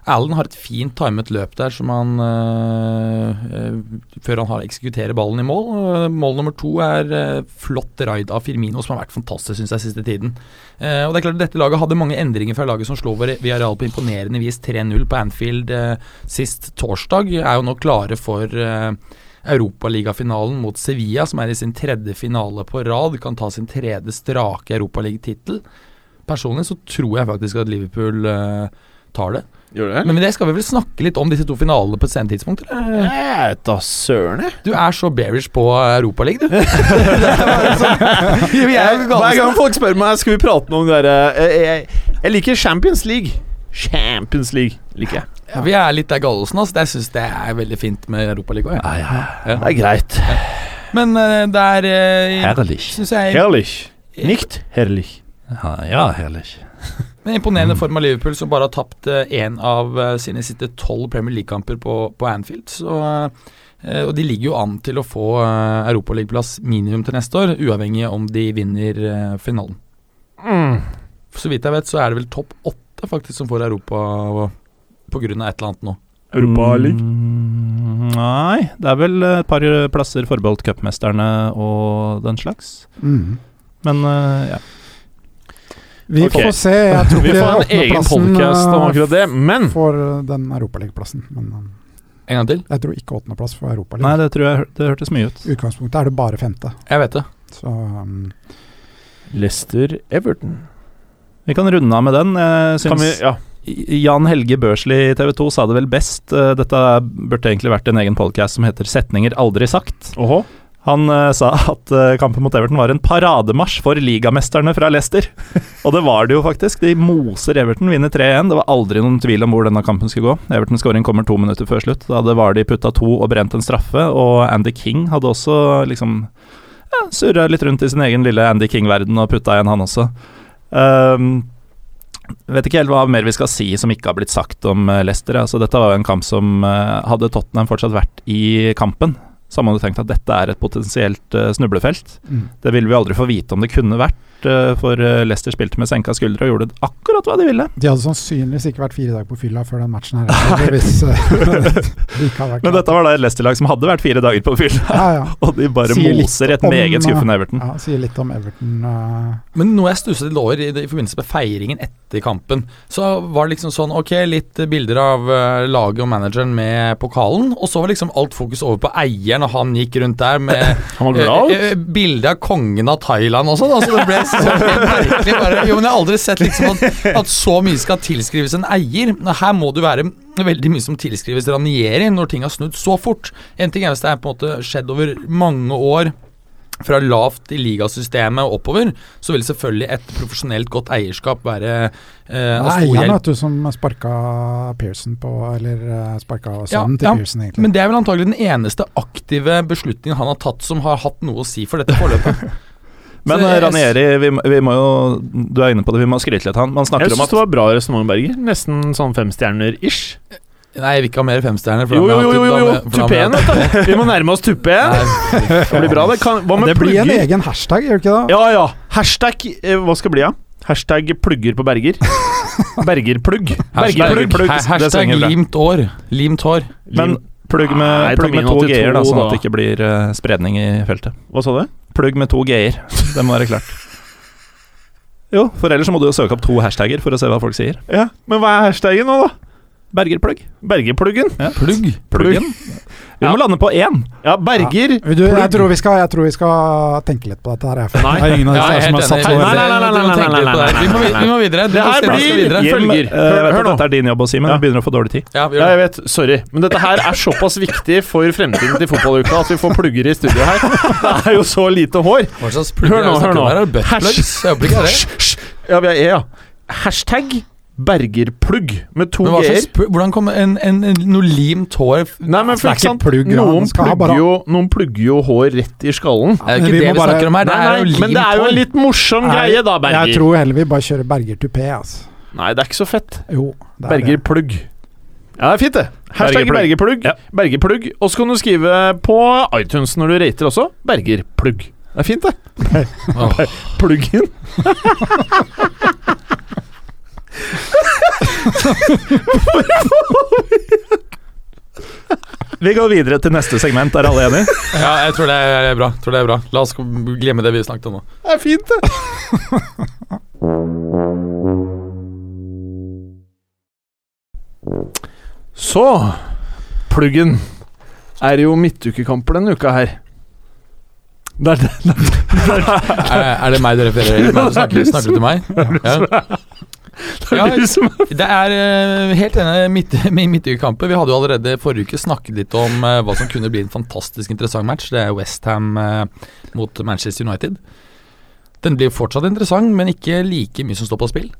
Speaker 6: Allen har et fint timet løp der som han eh, eh, Før han har eksekutert ballen i mål. Eh, Mål nummer to er eh, flott raid av Firmino, som har vært fantastisk, syns jeg, siste tiden. Eh, og det er klart Dette laget hadde mange endringer fra laget som slo Villarreal på imponerende vis 3-0 på Anfield eh, sist torsdag. Er jo nå klare for eh, Europaligafinalen mot Sevilla, som er i sin tredje finale på rad. Kan ta sin tredje strake Europaligatittel. Personlig så tror jeg faktisk at Liverpool eh, tar det.
Speaker 3: Gjør
Speaker 6: Men med det skal vi vel snakke litt om disse to finalene på et senere tidspunkt? eller?
Speaker 3: Jeg vet da søren, jeg.
Speaker 6: Du er så bearish på Europaligaen, du.
Speaker 5: sånn-
Speaker 6: Vi er jo gale.
Speaker 3: Hver gang folk spør meg Skal vi prate noe om det derre eh, jeg, jeg, jeg liker Champions League. Champions League liker jeg.
Speaker 6: Ja, vi er litt der Gallosen, altså. Jeg syns det er veldig fint med Europaligaen. Ja.
Speaker 3: Det er greit.
Speaker 6: Men eh, det er eh,
Speaker 4: Herrlich.
Speaker 6: synes jeg
Speaker 3: Herrlich. Nicht herrlich.
Speaker 4: Ja, ja, herrlich.
Speaker 6: en imponerende form av Liverpool, som bare har tapt én av eh, sine siste tolv Premier League-kamper på, på Anfield. Så, eh, og de ligger jo an til å få eh, Europaligaplass minimum til neste år, uavhengig om de vinner eh, finalen.
Speaker 3: Mm.
Speaker 6: Så vidt jeg vet, så er det vel topp åtte faktisk som får Europa pga. et eller annet nå.
Speaker 3: Europaligaen.
Speaker 4: Mm, nei, det er vel et par plasser forbeholdt cupmesterne og den slags.
Speaker 5: Mm.
Speaker 4: Men eh, ja.
Speaker 5: Vi
Speaker 3: Ok.
Speaker 5: får se. Jeg tror
Speaker 3: Vi
Speaker 5: ikke
Speaker 3: får en egen
Speaker 5: åttendeplassen
Speaker 3: podcast om
Speaker 5: eh,
Speaker 3: akkurat det, men
Speaker 5: får eh, den europaligaplassen. Men eh,
Speaker 6: En gang til?
Speaker 5: jeg tror ikke åttendeplass får
Speaker 4: Nei,
Speaker 5: europaligaen.
Speaker 4: det tror jeg hør- det hørtes mye ut.
Speaker 5: I utgangspunktet er det bare femte.
Speaker 6: Jeg vet det.
Speaker 5: Så um,
Speaker 3: Leicester Everton.
Speaker 4: Vi kan runde av med den. Jeg
Speaker 3: Kan vi
Speaker 4: syns
Speaker 3: Ja.
Speaker 4: Jan Helge Børsli i TV 2 sa det vel best. Eh, Dette burde egentlig vært en egen podkast som heter 'Setninger aldri sagt'.
Speaker 3: Åhå.
Speaker 4: Han eh, sa at eh, kampen mot Everton var en parademarsj for ligamesterne fra Leicester. Og det var det jo faktisk. De moser Everton, vinner 3-1. Det var aldri noen tvil om hvor denne kampen skulle gå. Everton-skåring kommer to minutter før slutt. Da det var de putta to og brent en straffe, og Andy King hadde også liksom ja, surra litt rundt i sin egen lille Andy King-verden og putta igjen, han også. Ehm, vet ikke helt hva mer vi skal si som ikke har blitt sagt om eh, Leicester. Altså, dette var jo en kamp som eh, Hadde Tottenham fortsatt vært i kampen, så hadde man jo tenkt at dette er et potensielt eh, snublefelt.
Speaker 5: mm.
Speaker 4: Det ville vi aldri få vite om det kunne vært, eh, for eh, Leicester spilte med senka skuldre og gjorde akkurat hva de ville.
Speaker 5: De hadde sannsynligvis ikke vært fire dager på fylla før den matchen her. eller Hvis eh, de ikke hadde vært
Speaker 4: Men
Speaker 5: klare.
Speaker 4: dette var da et Leicester-lag som hadde vært fire dager på fylla,
Speaker 5: ja, ja.
Speaker 4: og de bare
Speaker 5: Sier litt
Speaker 4: moser et
Speaker 5: om, eh,
Speaker 4: meget skuffende Everton.
Speaker 5: ja, Sier litt om Everton. eh,
Speaker 6: Men noe jeg stusset litt over i, i forbindelse med feiringen etter kampen, så var det liksom sånn Ok, litt bilder av eh, laget og manageren med pokalen, og så var liksom alt fokus over på eieren, og han gikk rundt der med
Speaker 3: Han var glad.
Speaker 6: Eh, eh, Bilde av kongen av Thailand også, da. Så det ble så helt merkelig. Bare, jo, men jeg har aldri sett liksom at, at så mye skal tilskrives en eier. Her må det jo være veldig mye som tilskrives Ranieri, når ting har snudd så fort. En ting er hvis det er på en måte skjedd over mange år. Fra lavt i ligasystemet og oppover, så vil selvfølgelig et profesjonelt godt eierskap være eh, av
Speaker 5: Det er
Speaker 6: stor
Speaker 5: eieren
Speaker 6: hjelp.
Speaker 5: vet du, som sparka Pearson på Eller eh, sparka sønnen til
Speaker 6: ja,
Speaker 5: Pearson, egentlig.
Speaker 6: Men det er vel antagelig den eneste aktive beslutningen han har tatt som har hatt noe å si for dette forløpet.
Speaker 4: Men
Speaker 6: Så
Speaker 4: eh,
Speaker 6: jeg-
Speaker 4: Ranieri, vi, må- vi må jo Du er inne på det, vi må skryte litt av han. Man
Speaker 3: Jeg
Speaker 4: snakker om
Speaker 3: syns
Speaker 4: at
Speaker 3: det var bra resonnement, Berger. Nesten sånn femstjerner-ish.
Speaker 6: Nei, jeg vil ikke ha mer femstjerner. for
Speaker 3: Jo,
Speaker 6: da
Speaker 3: jo,
Speaker 6: må
Speaker 3: jo,
Speaker 6: jeg-
Speaker 3: jo,
Speaker 6: da må
Speaker 3: jo.
Speaker 6: jeg- for da må jeg-
Speaker 3: tupeen, vet du. Vi må nærme oss tupeen.
Speaker 6: Nei,
Speaker 3: Det blir bra, det. Kan, hva med
Speaker 5: det blir en
Speaker 3: plugger?
Speaker 5: egen hashtag, gjør det ikke det?
Speaker 3: Ja, ja. Hashtag eh, Hva skal bli av? Hashtag plugger på Berger. Bergerplugg.
Speaker 6: Hashtag,
Speaker 3: Bergerplugg.
Speaker 6: ha-
Speaker 3: Det
Speaker 6: hashtag
Speaker 3: svinger bra.
Speaker 6: limt år. Limt hår.
Speaker 4: Men plugg
Speaker 3: Nei,
Speaker 4: med, plugg med
Speaker 3: Tamin
Speaker 4: to
Speaker 3: 82
Speaker 4: g-er, da, sånn at
Speaker 3: da.
Speaker 4: det ikke blir eh, spredning i feltet.
Speaker 3: Hva sa du?
Speaker 4: Plugg med to g-er. Det må være klart. Jo, for ellers så må du jo søke opp to hashtagger for å se hva folk sier.
Speaker 3: Ja, Men hva er hashtaggen nå, da?
Speaker 4: Bergerplugg.
Speaker 3: Bergerpluggen?
Speaker 6: Plugg.
Speaker 4: Pluggen. Vi må
Speaker 3: Ja.
Speaker 4: lande på én.
Speaker 3: Ja, Berger.
Speaker 5: Du, jeg, tror vi skal, jeg tror vi skal tenke litt på dette her. jeg, for
Speaker 3: Nei.
Speaker 5: det er ingen av
Speaker 6: Ja,
Speaker 5: disse
Speaker 6: jeg
Speaker 5: her
Speaker 6: er
Speaker 5: som
Speaker 6: helt
Speaker 5: har satt seg
Speaker 6: enig.
Speaker 3: Nei,
Speaker 5: over
Speaker 3: nei,
Speaker 5: det.
Speaker 3: nei, nei,
Speaker 6: Vi må
Speaker 3: nei,
Speaker 6: tenke litt på det.
Speaker 3: nei,
Speaker 6: Vi må,
Speaker 3: nei,
Speaker 6: vi må videre. Du
Speaker 3: Det her
Speaker 6: bestemmer oss for
Speaker 3: blir-
Speaker 6: videre.
Speaker 3: Hjelm-
Speaker 4: Følger.
Speaker 3: Hør-
Speaker 4: jeg vet
Speaker 3: hør
Speaker 4: at
Speaker 3: nå.
Speaker 4: dette er din jobb å si, men
Speaker 3: Ja.
Speaker 4: vi begynner å få dårlig tid.
Speaker 6: Ja, vi
Speaker 3: Ja,
Speaker 6: gjør
Speaker 3: jeg
Speaker 6: det.
Speaker 3: vet. Sorry. Men dette her er såpass viktig for fremtiden til fotballuka at vi får plugger i studio her. Det er jo så lite hår.
Speaker 6: Hva slags plugger
Speaker 3: Hør nå,
Speaker 6: er det vi
Speaker 3: hør
Speaker 6: snakker
Speaker 3: nå.
Speaker 6: om her? Er det buttplugs? Jeg håper ikke det er det.
Speaker 3: Hysj, hysj. Ja, vi er E, ja. Hashtag Bergerplugg med to
Speaker 6: Men hva
Speaker 3: g-er.
Speaker 6: slags, pl- hvordan kom en, en, en, noe limt hår
Speaker 3: Nei, men
Speaker 5: Det er
Speaker 3: for
Speaker 5: ikke
Speaker 3: ikke sant,
Speaker 5: plugg, ja,
Speaker 3: noen,
Speaker 5: man skal ha
Speaker 3: plugger
Speaker 5: bare-
Speaker 3: jo, noen plugger jo hår rett i skallen.
Speaker 6: Det er jo
Speaker 5: Men
Speaker 6: ikke
Speaker 5: vi
Speaker 6: det
Speaker 5: må
Speaker 6: vi
Speaker 5: bare-
Speaker 6: snakker om her. Det
Speaker 3: Nei,
Speaker 6: er jo
Speaker 3: nei, men
Speaker 6: limt
Speaker 3: det er jo en
Speaker 6: hår.
Speaker 3: litt morsom
Speaker 5: Nei,
Speaker 3: sånn greie, da,
Speaker 5: Jeg
Speaker 3: Berger.
Speaker 5: tror heller vi bare kjører Berger tupé. Altså.
Speaker 3: Nei, det er ikke så fett.
Speaker 5: Jo, det er
Speaker 3: Berger Plugg. Ja, det er fint, det. Hashtag Bergerplugg. Bergerplugg. Og så kan du skrive på iTunes når du rater også. Bergerplugg. Det er fint, det.
Speaker 6: Åh.
Speaker 3: Plugg-in.
Speaker 4: Vi går videre til neste segment. Er alle enige?
Speaker 6: Ja, jeg tror det er bra. Tror det er bra. La oss glemme det vi snakket om nå.
Speaker 3: Det er fint, det. Så Pluggen. Er det jo midtukekamper denne uka her. Det er det.
Speaker 6: Er, er det meg du refererer til? Men Snakker, snakker du til meg? Ja. Ja,
Speaker 3: du som er
Speaker 6: det er eh, helt enig midt, i midtukekampen. Vi hadde jo allerede forrige uke snakket litt om eh, hva som kunne bli en fantastisk interessant match. Det er Westham eh, mot Manchester United. Den blir fortsatt interessant, men ikke like mye som står på spill.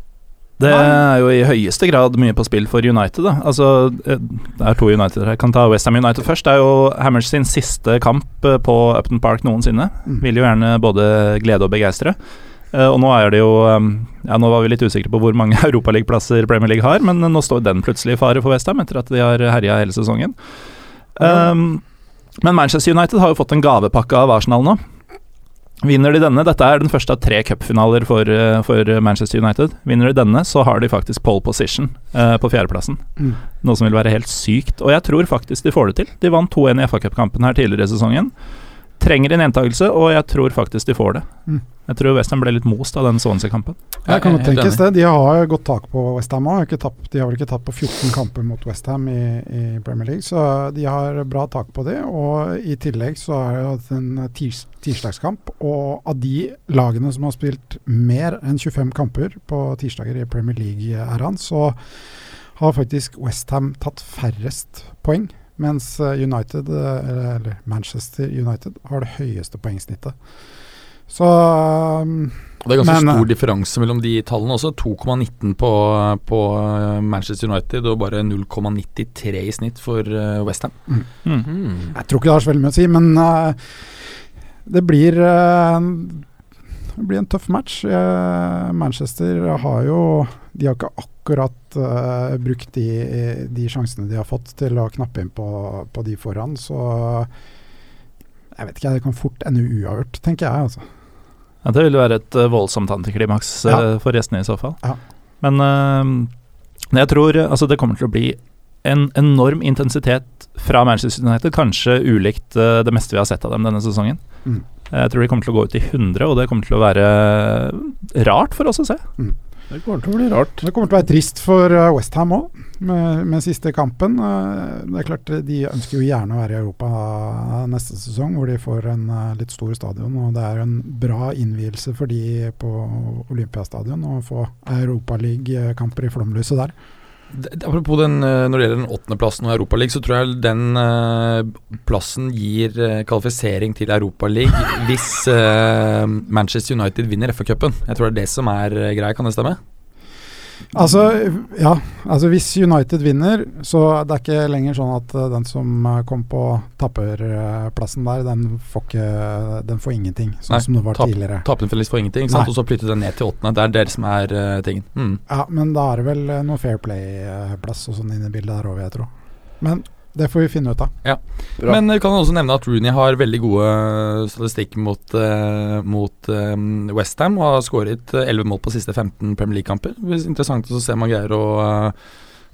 Speaker 4: Det er jo i høyeste grad mye på spill for United. Da. Altså, eh, det er to United her. Jeg kan ta Westham United først. Det er jo Hammers sin siste kamp eh, på Upton Park noensinne.
Speaker 5: Mm.
Speaker 4: Vil jo gjerne både glede og begeistre. Eh, Og nå er det jo eh, Ja, nå var vi litt usikre på hvor mange europaligaplasser Premier League har, men nå står den plutselig i fare for Westham etter at de har herja hele sesongen. Eh, Um, men Manchester United har jo fått en gavepakke av Arsenal nå. Vinner de denne, dette er den første av tre cupfinaler for, eh, for Manchester United. Vinner de denne, så har de faktisk pole position eh, på fjerdeplassen.
Speaker 5: Mm.
Speaker 4: Noe som vil være helt sykt. Og jeg tror faktisk de får det til. De vant 2-1 i FA-cupkampen her tidligere i sesongen. Trenger en gjentakelse, og jeg tror faktisk de får det.
Speaker 5: Mm.
Speaker 4: Jeg tror Western ble litt most av den Swansea-kampen.
Speaker 5: Jeg kan godt
Speaker 6: helt
Speaker 5: tenkes
Speaker 6: enig.
Speaker 5: det. De har godt tak på Westham òg. De har vel ikke tapt på 14 kamper mot Westham i, i Premier League, så de har bra tak på det. Og i tillegg så er det jo en tirs, tirsdagskamp, og av de lagene som har spilt mer enn 25 kamper på tirsdager i Premier League-æraen, så har faktisk Westham tatt færrest poeng. Mens eh, United, eh, eller eller Manchester United, har det høyeste poengsnittet. Så um,
Speaker 6: Og det er ganske
Speaker 5: Men, eh,
Speaker 6: stor differanse mellom de tallene også. 2,19 på, på eh, Manchester United og bare 0,93 i snitt for eh, Westham. Mm.
Speaker 5: Jeg tror ikke det har så veldig mye å si, men eh, det blir eh, en- det blir en tøff match. Eh, Manchester har jo De har ikke akkurat eh, brukt de, de sjansene de har fått til å knappe inn på, på de foran, så jeg vet ikke, Det kan fort ende uavgjort, tenker jeg. altså.
Speaker 4: Ja, det ville være et eh, voldsomt antiklimaks eh,
Speaker 5: Ja.
Speaker 4: for gjestene i så fall.
Speaker 5: Ja.
Speaker 4: Men eh, jeg tror eh, altså, det kommer til å bli en enorm intensitet fra Manchester United, kanskje ulikt eh, det meste vi har sett av dem denne sesongen.
Speaker 5: Mm.
Speaker 4: Jeg tror de kommer til å gå ut i 100, og det kommer til å være eh, rart for oss å se.
Speaker 3: Det kommer til å bli rart.
Speaker 5: Det kommer til å være trist for eh, Westham òg, med, med siste kampen. Eh, Det er klart eh, De ønsker jo gjerne å være i Europa eh, neste sesong, hvor de får en eh, litt stor stadion. Og Det er en bra innvielse for de på Olympiastadion å få europaligakamper i flomlyset der.
Speaker 6: D- d- Apropos den, eh, når det gjelder den åttendeplassen og Europaligaen, så tror jeg den eh, plassen gir eh, kvalifisering til Europaligaen hvis eh, Manchester United vinner FA-cupen. Jeg tror det er det som er eh, greia, kan det stemme?
Speaker 5: Altså, ja, altså hvis United vinner, så det er ikke lenger sånn at eh, den som eh, kom på tapperplassen der, den får, ikke, den får ingenting, sånn
Speaker 6: Nei,
Speaker 5: som det var
Speaker 6: tap-
Speaker 5: tidligere.
Speaker 6: Tapende felles får ingenting, ikke sant?
Speaker 5: Nei.
Speaker 6: og så flytter den ned til åttende. Det er dere som er eh, tingen. Mm.
Speaker 5: Ja, men da er det vel eh, noe Fair Play-plass og sånn inne i bildet der òg, vil jeg tro. Men det får vi finne ut av.
Speaker 3: Bra.
Speaker 6: Men vi kan også nevne at Rooney har veldig gode statistikk mot, eh, mot eh, West Ham og har skåret eh, 11 mål på siste 15 Premier League-kamper. Det blir Interessant å se om han greier å eh,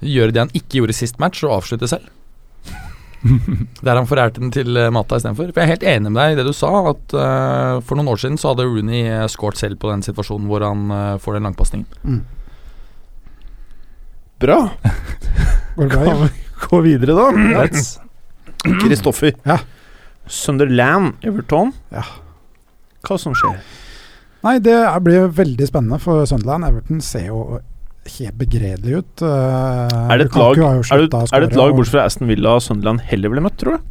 Speaker 6: gjøre det han ikke gjorde i sist match, og avslutte selv. Der han får ært den til eh, Mata istedenfor. For jeg er helt enig med deg i det du sa, at eh, for noen år siden så hadde Rooney eh, skåret selv på den situasjonen hvor han eh, får den langpasningen.
Speaker 3: Bra.
Speaker 5: Går det bra? Jan?
Speaker 3: Gå videre, da. Let's. Kristoffer.
Speaker 5: Ja.
Speaker 3: Sunderland, Everton.
Speaker 5: Ja.
Speaker 3: Hva som skjer?
Speaker 5: Nei, det er- blir jo veldig spennende for Sunderland. Everton ser jo helt begredelig ut. Eh,
Speaker 3: Er det et lag, er det, er det et lag bortsett fra Aston Villa og Sunderland heller ville møtt, tror du?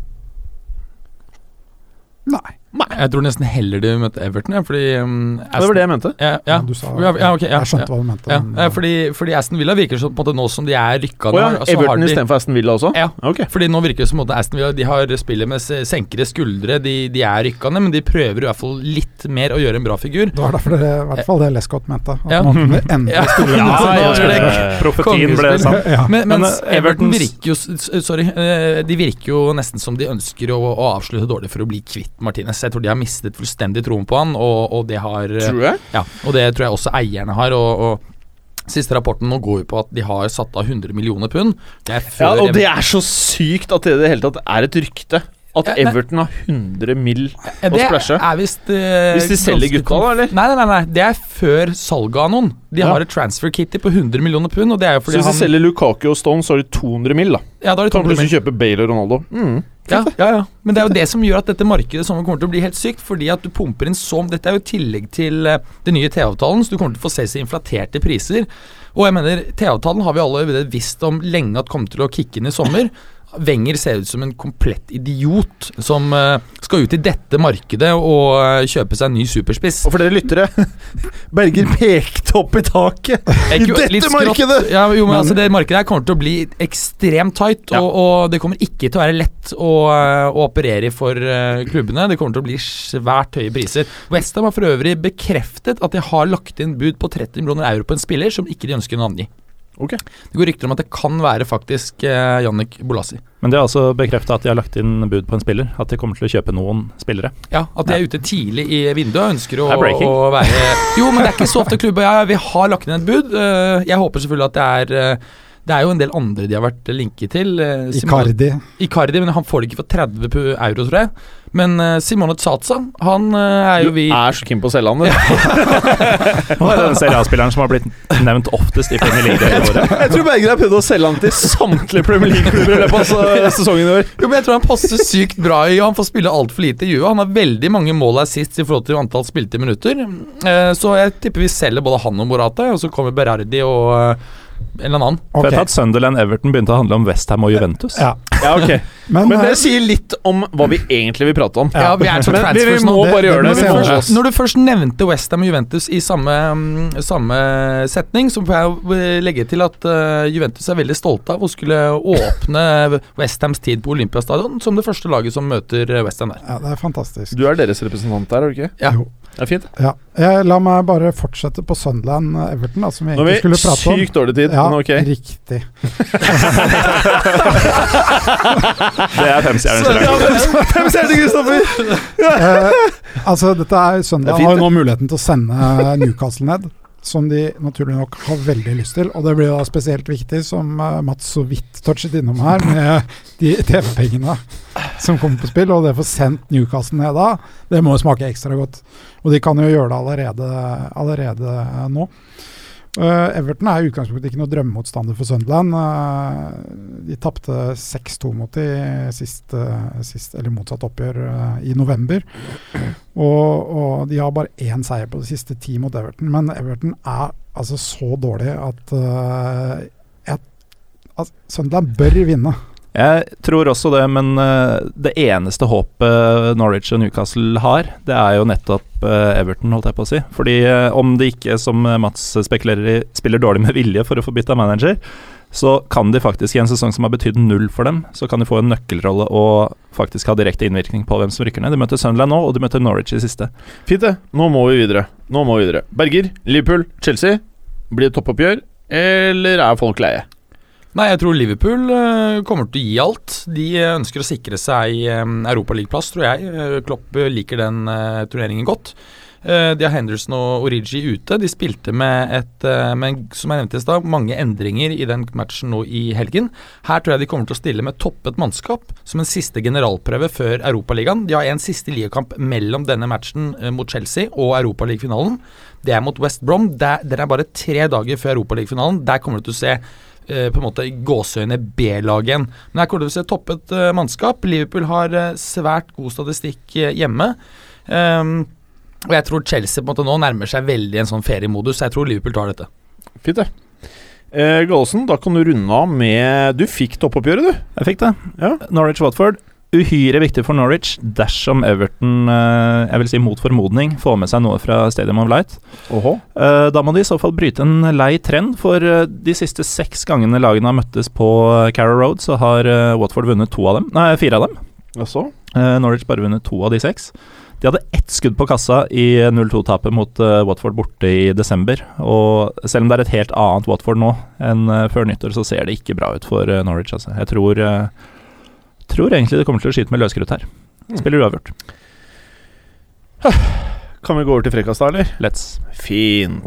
Speaker 5: Nei.
Speaker 6: Jeg tror nesten heller de møtte Everton, ja, fordi um,
Speaker 3: Ja, det var det jeg mente.
Speaker 6: Ja, ja.
Speaker 5: Du sa,
Speaker 6: ja, ja, ok, ja,
Speaker 5: jeg
Speaker 6: ja.
Speaker 5: skjønte hva du mente.
Speaker 6: Ja,
Speaker 5: men,
Speaker 6: ja fordi, fordi Aston Villa virker som på en måte nå som de er
Speaker 3: Å
Speaker 6: rykka
Speaker 3: ja,
Speaker 6: ned, så altså, har
Speaker 3: Everton
Speaker 6: de-
Speaker 3: istedenfor Aston Villa også?
Speaker 6: Ja.
Speaker 3: Ok.
Speaker 6: Fordi nå virker det som at Aston Villa de har spillet med s- senkede skuldre. De, de er rykka ned, men de prøver i hvert fall litt mer å gjøre en bra figur.
Speaker 5: eh, det var derfor det i hvert fall det Lescott mente. At
Speaker 6: Eh, Ja.
Speaker 5: man kunne endre
Speaker 6: Ja,
Speaker 3: ja, ja, ja. Profetien ble
Speaker 6: Kongespill.
Speaker 3: sant.
Speaker 5: ja.
Speaker 6: Men,
Speaker 3: Men,
Speaker 6: mens
Speaker 3: eh,
Speaker 6: Everton
Speaker 3: Evertons-
Speaker 6: virker jo s- s- Sorry. eh, De virker jo nesten som de ønsker å, å avslutte dårlig for å bli kvitt Martinez. Jeg tror de har mistet fullstendig troen på han, og, og det har eh,
Speaker 3: Tror jeg.
Speaker 6: Ja, og det tror jeg også eierne har. Og, og Siste rapporten nå går jo på at de har satt av 100 millioner pund. Det er før
Speaker 3: Ja, og det
Speaker 6: Everton-
Speaker 3: er så sykt at det i det hele tatt er et rykte. At
Speaker 6: Ja, nei.
Speaker 3: Everton har 100 mill.
Speaker 6: Ja,
Speaker 3: å splashe.
Speaker 6: er visst eh,
Speaker 3: Hvis de selger
Speaker 6: ganske
Speaker 3: gutta, da, eller?
Speaker 6: Nei, nei, nei, nei, det er før salget av noen. De
Speaker 3: Ja.
Speaker 6: har et transfer kitty på 100 millioner pund, og det er jo
Speaker 3: Så
Speaker 6: fordi
Speaker 3: hvis de
Speaker 6: han
Speaker 3: selger Lukaku og Stone, så har de 200 mill. da.
Speaker 6: Ja, da har de
Speaker 3: Kan
Speaker 6: tatt
Speaker 3: plutselig
Speaker 6: med.
Speaker 3: kjøpe Bale og Ronaldo. Mm.
Speaker 6: Ja, ja, ja. Men det er jo det som gjør at dette markedet sommer kommer til å bli helt sykt, fordi at du pumper inn så Dette er jo i tillegg til eh, den nye T-avtalen, så du kommer til å få se så inflaterte priser. Og jeg mener, T-avtalen har vi alle visst om lenge at kommer til å kicke inn i sommer. Wenger ser ut som en komplett idiot som eh, skal ut i dette markedet og eh, kjøpe seg en ny superspiss.
Speaker 3: Og for dere lyttere Berger pekte opp i taket!
Speaker 6: Jeg
Speaker 3: I
Speaker 6: er ikke-
Speaker 3: dette
Speaker 6: litt skrått.
Speaker 3: markedet!
Speaker 6: Ja, jo, men altså Det markedet her kommer til å bli ekstremt tight,
Speaker 3: Ja.
Speaker 6: og, og det kommer ikke til å være lett å, eh, å operere i for eh, klubbene. Det kommer til å bli svært høye priser. Westham har for øvrig bekreftet at de har lagt inn bud på 30 millioner euro på en spiller som ikke de ønsker å navngi.
Speaker 3: Ok.
Speaker 6: Det går rykter om at det kan være faktisk eh, Jannik Bolassi.
Speaker 4: Men det er altså bekrefta at de har lagt inn bud på en spiller. At de kommer til å kjøpe noen spillere.
Speaker 6: Ja, At de er ute tidlig i vinduet og ønsker å,
Speaker 4: Det er breaking.
Speaker 6: å være Jo, men det er ikke så ofte klubber ja, Vi har lagt inn et bud. Eh, Jeg håper selvfølgelig at det er eh, Det er jo en del andre de har vært linket til. eh, Simone-
Speaker 5: Icardi.
Speaker 6: Icardi, men han får det ikke for 30 pu- euro, tror jeg. Men eh, Simone Tsatsa, han eh, er jo vi
Speaker 3: er så keen på å selge han, du.
Speaker 4: Han er den Serie A-spilleren som har blitt nevnt oftest i Premier League i året.
Speaker 3: Jeg tror Berger har prøvd å selge han til samtlige Premier League-klubber i løpet av se- sesongen i år.
Speaker 6: Jo, men Jeg tror han passer sykt bra i Han får spille altfor lite i Juve. Han har veldig mange mål her sist i forhold til antall spilte minutter. Eh, Så jeg tipper vi selger både han og Morata, og så kommer Berardi og eh, en eller annen.
Speaker 5: Ok.
Speaker 4: Fett at Sunderland Everton begynte å handle om Westham og Juventus.
Speaker 5: Ja.
Speaker 3: Ja, ok.
Speaker 5: Men,
Speaker 3: Men
Speaker 5: eh,
Speaker 3: det sier litt om hva vi egentlig vil prate om.
Speaker 6: Ja, vi er så
Speaker 3: Men vi, vi
Speaker 6: transfers nå.
Speaker 3: må bare
Speaker 5: Det-
Speaker 3: gjøre det.
Speaker 5: det
Speaker 3: Vi må
Speaker 5: må vi
Speaker 3: holde
Speaker 5: gjøre.
Speaker 3: oss.
Speaker 6: Når du først nevnte Westham og Juventus i samme, mm, samme setning, så får jeg jo, eh, legge til at eh, Juventus er veldig stolte av å skulle åpne Westhams tid på Olympiastadion som det første laget som møter Westham der.
Speaker 5: ja, det er fantastisk.
Speaker 3: Du er deres representant der, er du ikke?
Speaker 6: Ja.
Speaker 5: Jo.
Speaker 3: Det er fint.
Speaker 5: Ja. Jeg, la meg bare fortsette på Sunderland eh, Everton, da, som vi
Speaker 3: Nå har
Speaker 5: egentlig
Speaker 3: vi
Speaker 5: skulle prate om.
Speaker 3: sykt dårlig tid,
Speaker 5: Ja,
Speaker 3: men ok.
Speaker 5: riktig.
Speaker 4: Det er femstjerners rang.
Speaker 3: Fem stjerner, Kristoffer!
Speaker 5: Eh, altså, dette er
Speaker 3: Det er
Speaker 5: Sunderland
Speaker 3: fint,
Speaker 5: har
Speaker 3: det.
Speaker 5: jo nå muligheten til å sende eh, Newcastle ned, som de naturlig nok har veldig lyst til. Og det blir jo da spesielt viktig, som eh, Mats så vidt touchet innom her, med de TV-pengene som kommer på spill, og det å få sendt Newcastle ned da, det må jo smake ekstra godt. Og de kan jo gjøre det allerede, allerede eh, nå. Eh, Everton er i utgangspunktet ikke noe drømmemotstander for Sunderland. Eh, de tapte 6-2 mot de sist, eh, sist, eller motsatt oppgjør eh, i november. Og, og de har bare én seier på de siste ti mot Everton, men Everton er altså så dårlig at uh, jeg, altså, Sunderland bør vinne.
Speaker 4: Jeg tror også det, men eh, det eneste håpet Norwich og Newcastle har, det er jo nettopp eh, Everton, holdt jeg på å si. Fordi eh, om de ikke, som eh, Mats spekulerer i, spiller dårlig med vilje for å få bytta manager, så kan de faktisk i en sesong som har betydd null for dem, så kan de få en nøkkelrolle og faktisk ha direkte innvirkning på hvem som rykker ned. De møter Sunderland nå, og de møter Norwich i siste.
Speaker 3: Fint, det. Nå må vi videre. Nå må vi videre. Berger, Liverpool, Chelsea. Blir det toppoppgjør, eller er folk leie?
Speaker 6: Nei, jeg tror Liverpool eh, kommer til å gi alt. De eh, ønsker å sikre seg eh, Europaligaplass, tror jeg. Eh, Klopp eh, liker den eh, turneringen godt. Eh, De har Henderson og Origi ute. De spilte med et eh, med, en- som jeg nevnte i stad, mange endringer i den matchen nå i helgen. Her tror jeg de kommer til å stille med toppet mannskap som en siste generalprøve før Europaligaen. De har en siste ligakamp mellom denne matchen eh, mot Chelsea og Europaligafinalen. Det er mot West Brom. Der, den er bare tre dager før Europaligafinalen. Der kommer du til å se eh, på en måte gåseøyne B-laget igjen. Men her kommer du til å se toppet eh, mannskap. Liverpool har eh, svært god statistikk eh, hjemme. Ehm, og jeg tror Chelsea på en måte nå nærmer seg veldig en sånn feriemodus. så Jeg tror Liverpool tar dette.
Speaker 3: Fint, det. Eh, Gallosen, da kan du runde av med Du fikk toppoppgjøret, du.
Speaker 4: Jeg fikk det.
Speaker 3: Ja.
Speaker 4: Norwich-Watford. Uhyre viktig for Norwich dersom Everton, eh, jeg vil si mot formodning, får med seg noe fra Stadium of Light.
Speaker 3: Oho.
Speaker 4: Eh, Da må de i så fall bryte en lei trend, for eh, de siste seks gangene lagene har møttes på eh, Carrow Road, så har eh, Watford vunnet to av dem. Nei, fire av dem.
Speaker 3: Jaså?
Speaker 4: Eh, Norwich bare vunnet to av de seks. De hadde ett skudd på kassa i 0-2-tapet mot eh, Watford borte i desember. Og selv om det er et helt annet Watford nå enn eh, før nyttår, så ser det ikke bra ut for eh, Norwich. Altså. Jeg tror, eh, tror egentlig det kommer til å skyte med løskrutt her. Spiller uavgjort.
Speaker 3: Kan vi gå over til frekkas, da, eller?
Speaker 4: Let's.
Speaker 3: Fint.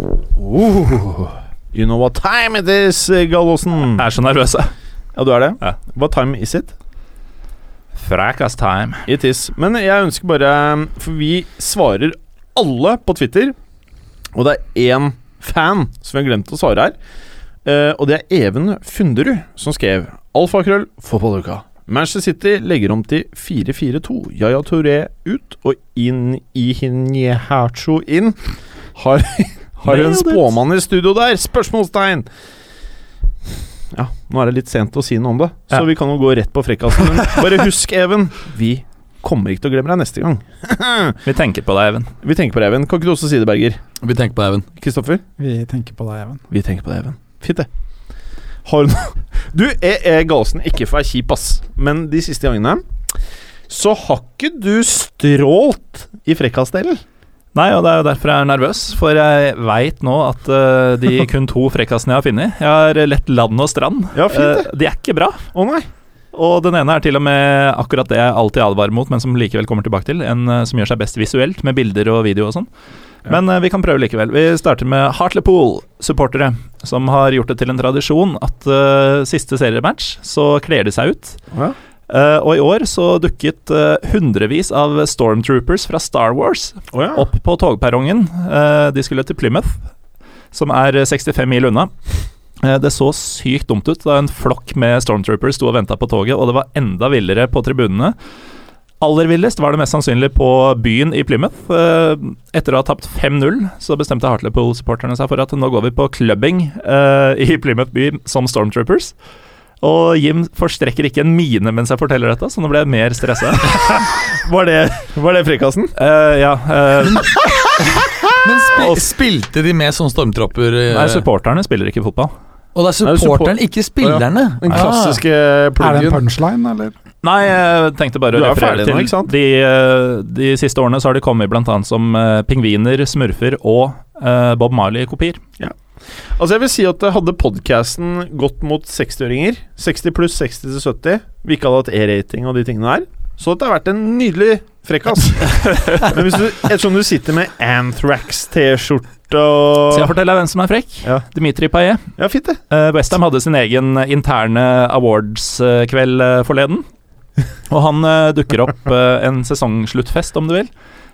Speaker 3: Oh, you know what time it is, Gallosen.
Speaker 4: Jeg er så nervøs, jeg.
Speaker 3: Ja, du er det?
Speaker 4: Ja.
Speaker 3: What time is it?
Speaker 4: Fracas time.
Speaker 3: It is. Men jeg ønsker bare For vi svarer alle på Twitter, og det er én fan som vi har glemt å svare her. Eh, og det er Even Funderud som skrev Alfakrøll fotballuka. Manchester City legger om til 4-4-2. Yaya Touré ut og inn i Hinyehacho inn. Har, har en
Speaker 4: Nailed it.
Speaker 3: spåmann i studio der? Spørsmålstegn! Ja, nå er det litt sent å si noe om det, så
Speaker 4: Ja.
Speaker 3: vi kan jo gå rett på frekkasen. Men bare husk, Even, vi kommer ikke til å glemme deg neste gang.
Speaker 4: Vi tenker på deg, Even.
Speaker 3: Vi tenker på deg, Even. Kan ikke du også si det, Berger?
Speaker 6: Vi tenker på Even.
Speaker 3: Kristoffer?
Speaker 5: Vi tenker på deg, Even.
Speaker 3: Vi tenker på deg, Even. Fint, det. Har du noe Du, jeg er galsen ikke for å være kjip, ass, men de siste gangene så har ikke du strålt i frekkasdelen.
Speaker 4: Nei, og det er jo derfor jeg er nervøs, for jeg veit nå at eh, de kun to frekkasene jeg har funnet Jeg har lett land og strand.
Speaker 3: Ja, fint det.
Speaker 4: Eh, de er ikke bra.
Speaker 3: Å nei.
Speaker 4: Og den ene er til og med akkurat det jeg alltid advarer mot, men som likevel kommer tilbake til. En eh, som gjør seg best visuelt, med bilder og video og sånn. Men eh, vi kan prøve likevel. Vi starter med Hartlepool-supportere, som har gjort det til en tradisjon at eh, siste seriematch så kler de seg ut.
Speaker 3: Ja.
Speaker 4: Eh, og i år så dukket eh, hundrevis av stormtroopers fra Star Wars
Speaker 3: Å
Speaker 6: Ah.
Speaker 3: ja.
Speaker 4: opp på togperrongen. Eh, de skulle til Plymouth, som er 65 mil unna. Eh, det så sykt dumt ut da en flokk med stormtroopers sto og venta på toget, og det var enda villere på tribunene. Aller villest var det mest sannsynlig på byen i Plymouth. Eh, etter å ha tapt 5-0, så bestemte Hartlepool-supporterne seg for at nå går vi på clubbing eh, i Plymouth by som stormtroopers. Og Jim forstrekker ikke en mine mens jeg forteller dette, så nå ble jeg mer stressa.
Speaker 3: Var det, var det frikassen?
Speaker 4: Eh, ja, eh,
Speaker 6: Men spi spilte de med sånne stormtropper? eh,
Speaker 4: nei, supporterne spiller ikke fotball.
Speaker 6: og det er
Speaker 3: Nei, support-
Speaker 6: supporteren, ikke spillerne!
Speaker 3: Den
Speaker 6: Ah.
Speaker 3: klassiske
Speaker 5: Er det en
Speaker 3: pluggen.
Speaker 5: punchline, eller?
Speaker 4: Nei, jeg tenkte bare
Speaker 3: Du
Speaker 4: å
Speaker 3: er
Speaker 4: referere
Speaker 3: ferdig
Speaker 4: til
Speaker 3: nå, ikke sant?
Speaker 4: De, eh, de siste årene så har de kommet blant annet som eh, pingviner, smurfer og eh, Bob Marley-kopier.
Speaker 3: Altså, jeg vil si at eh, hadde podkasten gått mot 60-åringer, 60 pluss 60 til 70, vi ikke hadde hatt E-rating og de tingene der, så hadde det vært en nydelig frekkas. Men hvis du, ettersom du sitter med Anthrax-T-skjorte
Speaker 4: Så jeg
Speaker 3: og
Speaker 4: forteller deg hvem som er frekk.
Speaker 3: Ja.
Speaker 4: Dimitri Payet.
Speaker 3: Ja, fint, det.
Speaker 4: Uh, Westham hadde sin egen interne awards-kveld eh, forleden. Og han eh, dukker opp eh, en sesongsluttfest, om du vil,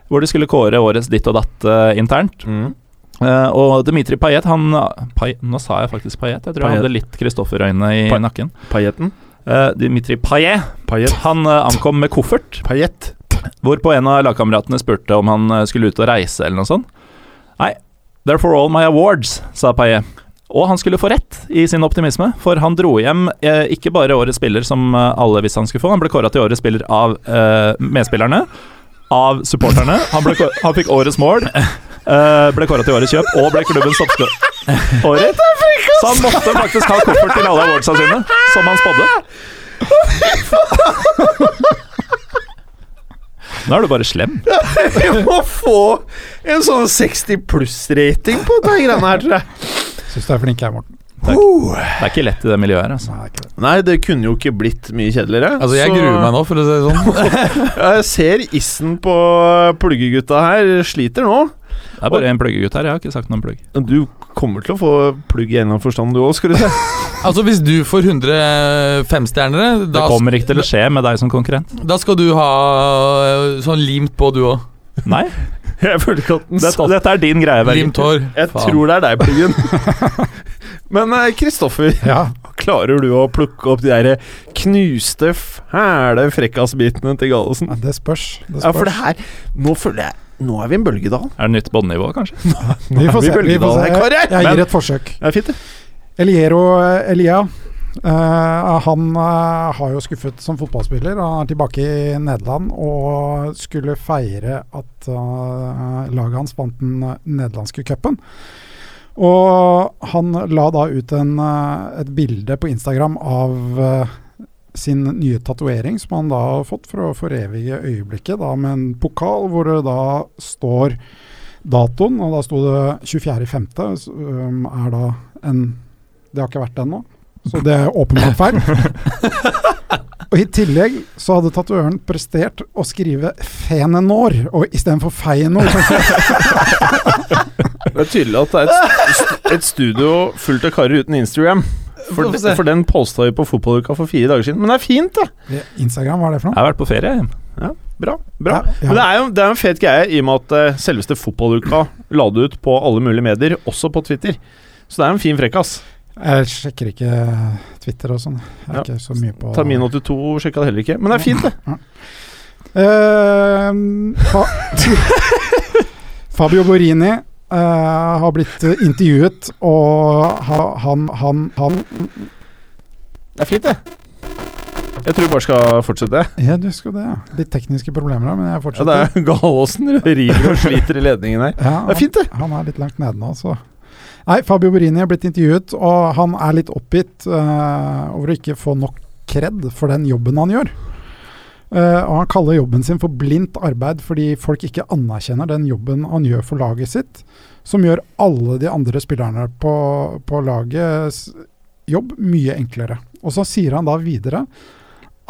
Speaker 4: hvor de skulle kåre årets ditt og datt eh, internt.
Speaker 3: Mm.
Speaker 4: Eh, og Dimitri Payet, han Pay, Nå sa jeg faktisk Payet. Jeg tror
Speaker 3: Payet.
Speaker 4: jeg hadde litt Kristoffer-øyne i
Speaker 3: Pay-
Speaker 4: nakken.
Speaker 3: Pajetten.
Speaker 4: Eh, Dimitri Payet
Speaker 3: Pajet.
Speaker 4: Han eh, ankom med koffert,
Speaker 3: Pajett.
Speaker 4: hvorpå en av lagkameratene spurte om han eh, skulle ut og reise eller noe sånt. Nei, they're for all my awards, sa Paillet. Og han skulle få rett i sin optimisme, for han dro hjem eh, ikke bare årets spiller, som eh, alle visste han skulle få, han ble kåra til årets spiller av eh, medspillerne, av supporterne. Han, ble, kå- han fikk årets mål, eh, ble kåra til årets kjøp og ble klubbens toppskårer. Så han måtte faktisk ha koffert til alle awardsa sine, som han spådde. Nå er du bare slem.
Speaker 3: Vi må få en sånn 60 pluss-rating på de greiene her, tror jeg.
Speaker 5: Syns du er flink, jeg, Morten.
Speaker 4: Det er ikke lett i det miljøet her, altså.
Speaker 5: Nei, det er ikke det.
Speaker 3: Nei, det kunne jo ikke blitt mye kjedeligere.
Speaker 6: Altså, jeg
Speaker 3: så-
Speaker 6: gruer meg nå, for å si det sånn.
Speaker 3: Jeg ser issen på pluggegutta her sliter nå.
Speaker 4: Det er bare en pluggegutt her, jeg har ikke sagt noen plugg.
Speaker 3: Du kommer til å få plugg i en eller annen forstand, du òg, skal du se.
Speaker 6: Altså, hvis du får 100 femstjernere,
Speaker 4: Det
Speaker 6: da,
Speaker 4: kommer ikke til å skje med deg som konkurrent.
Speaker 6: da skal du ha eh, sånn limt på, du òg.
Speaker 4: Nei,
Speaker 3: Jeg følte ikke at den
Speaker 4: dette,
Speaker 3: satt
Speaker 4: dette er din greie, Berger.
Speaker 6: Limt hår.
Speaker 3: Jeg
Speaker 6: Faen.
Speaker 3: tror det er deg, pluggen. Men eh, Kristoffer,
Speaker 5: Ja,
Speaker 3: klarer du å plukke opp de der eh, knuste, fæle frekkasbitene til Gallesen?
Speaker 5: men det spørs. Det spørs.
Speaker 3: Ja, for det her Nå føler jeg Nå er vi en bølgedal.
Speaker 4: Er det nytt båndnivå, kanskje?
Speaker 5: vi
Speaker 3: vi
Speaker 5: får se. Vi får
Speaker 3: bølgedalen
Speaker 5: se.
Speaker 3: her, karer.
Speaker 5: Jeg, jeg
Speaker 3: Men-
Speaker 5: gir et forsøk.
Speaker 3: Det er fint, det.
Speaker 5: Eliero Elia. eh, han eh, har jo skuffet som fotballspiller. Han er tilbake i Nederland og skulle feire at eh, laget hans vant den eh, nederlandske cupen. Og han la da ut en, eh, et bilde på Instagram av eh, sin nye tatovering, som han da har fått for å forevige øyeblikket, da med en pokal hvor det da står datoen, og da sto det 24.5., som eh, er da en det har ikke vært det ennå, så det er åpenbart feil. Og I tillegg så hadde tatoøren prestert å skrive 'Fenenor' og istedenfor 'Feinor'.
Speaker 3: Det er tydelig at det er et, st- et studio fullt av karer uten Instagram. For,
Speaker 6: Få se.
Speaker 3: for den posta vi på fotballuka for fire dager siden. Men det er fint, det.
Speaker 5: Instagram, hva er det for
Speaker 4: Jeg
Speaker 5: noe?
Speaker 4: har vært på ferie. jeg.
Speaker 3: Bra. bra.
Speaker 5: Ja,
Speaker 3: Men det
Speaker 5: ja.
Speaker 3: er jo det er jo en fet greie, i og med at eh, selveste fotballuka la det ut på alle mulige medier, også på Twitter. Så det er en fin frekkas.
Speaker 5: Jeg sjekker ikke Twitter og sånn. Jeg
Speaker 3: Ja.
Speaker 5: er ikke så mye på
Speaker 3: Termin82 sjekka det heller ikke, men det er fint, det.
Speaker 5: Eh, fa Fabio Borini eh, har blitt eh, intervjuet, og ha, han, han, han
Speaker 3: Det er fint, det. Jeg tror vi bare skal fortsette.
Speaker 5: Ja, du skal det, ja. Litt tekniske problemer her, men jeg
Speaker 3: Ja, det
Speaker 5: fortsetter.
Speaker 3: er Galåsen river og sliter i ledningen her.
Speaker 5: Ja,
Speaker 3: Det er fint, det.
Speaker 5: Han er litt langt nede nå, så. Nei, Fabio Borini er blitt intervjuet, og han er litt oppgitt eh, over å ikke få nok kred for den jobben han gjør. Eh, og han kaller jobben sin for blindt arbeid fordi folk ikke anerkjenner den jobben han gjør for laget sitt, som gjør alle de andre spillerne på, på lagets jobb mye enklere. Og så sier han da videre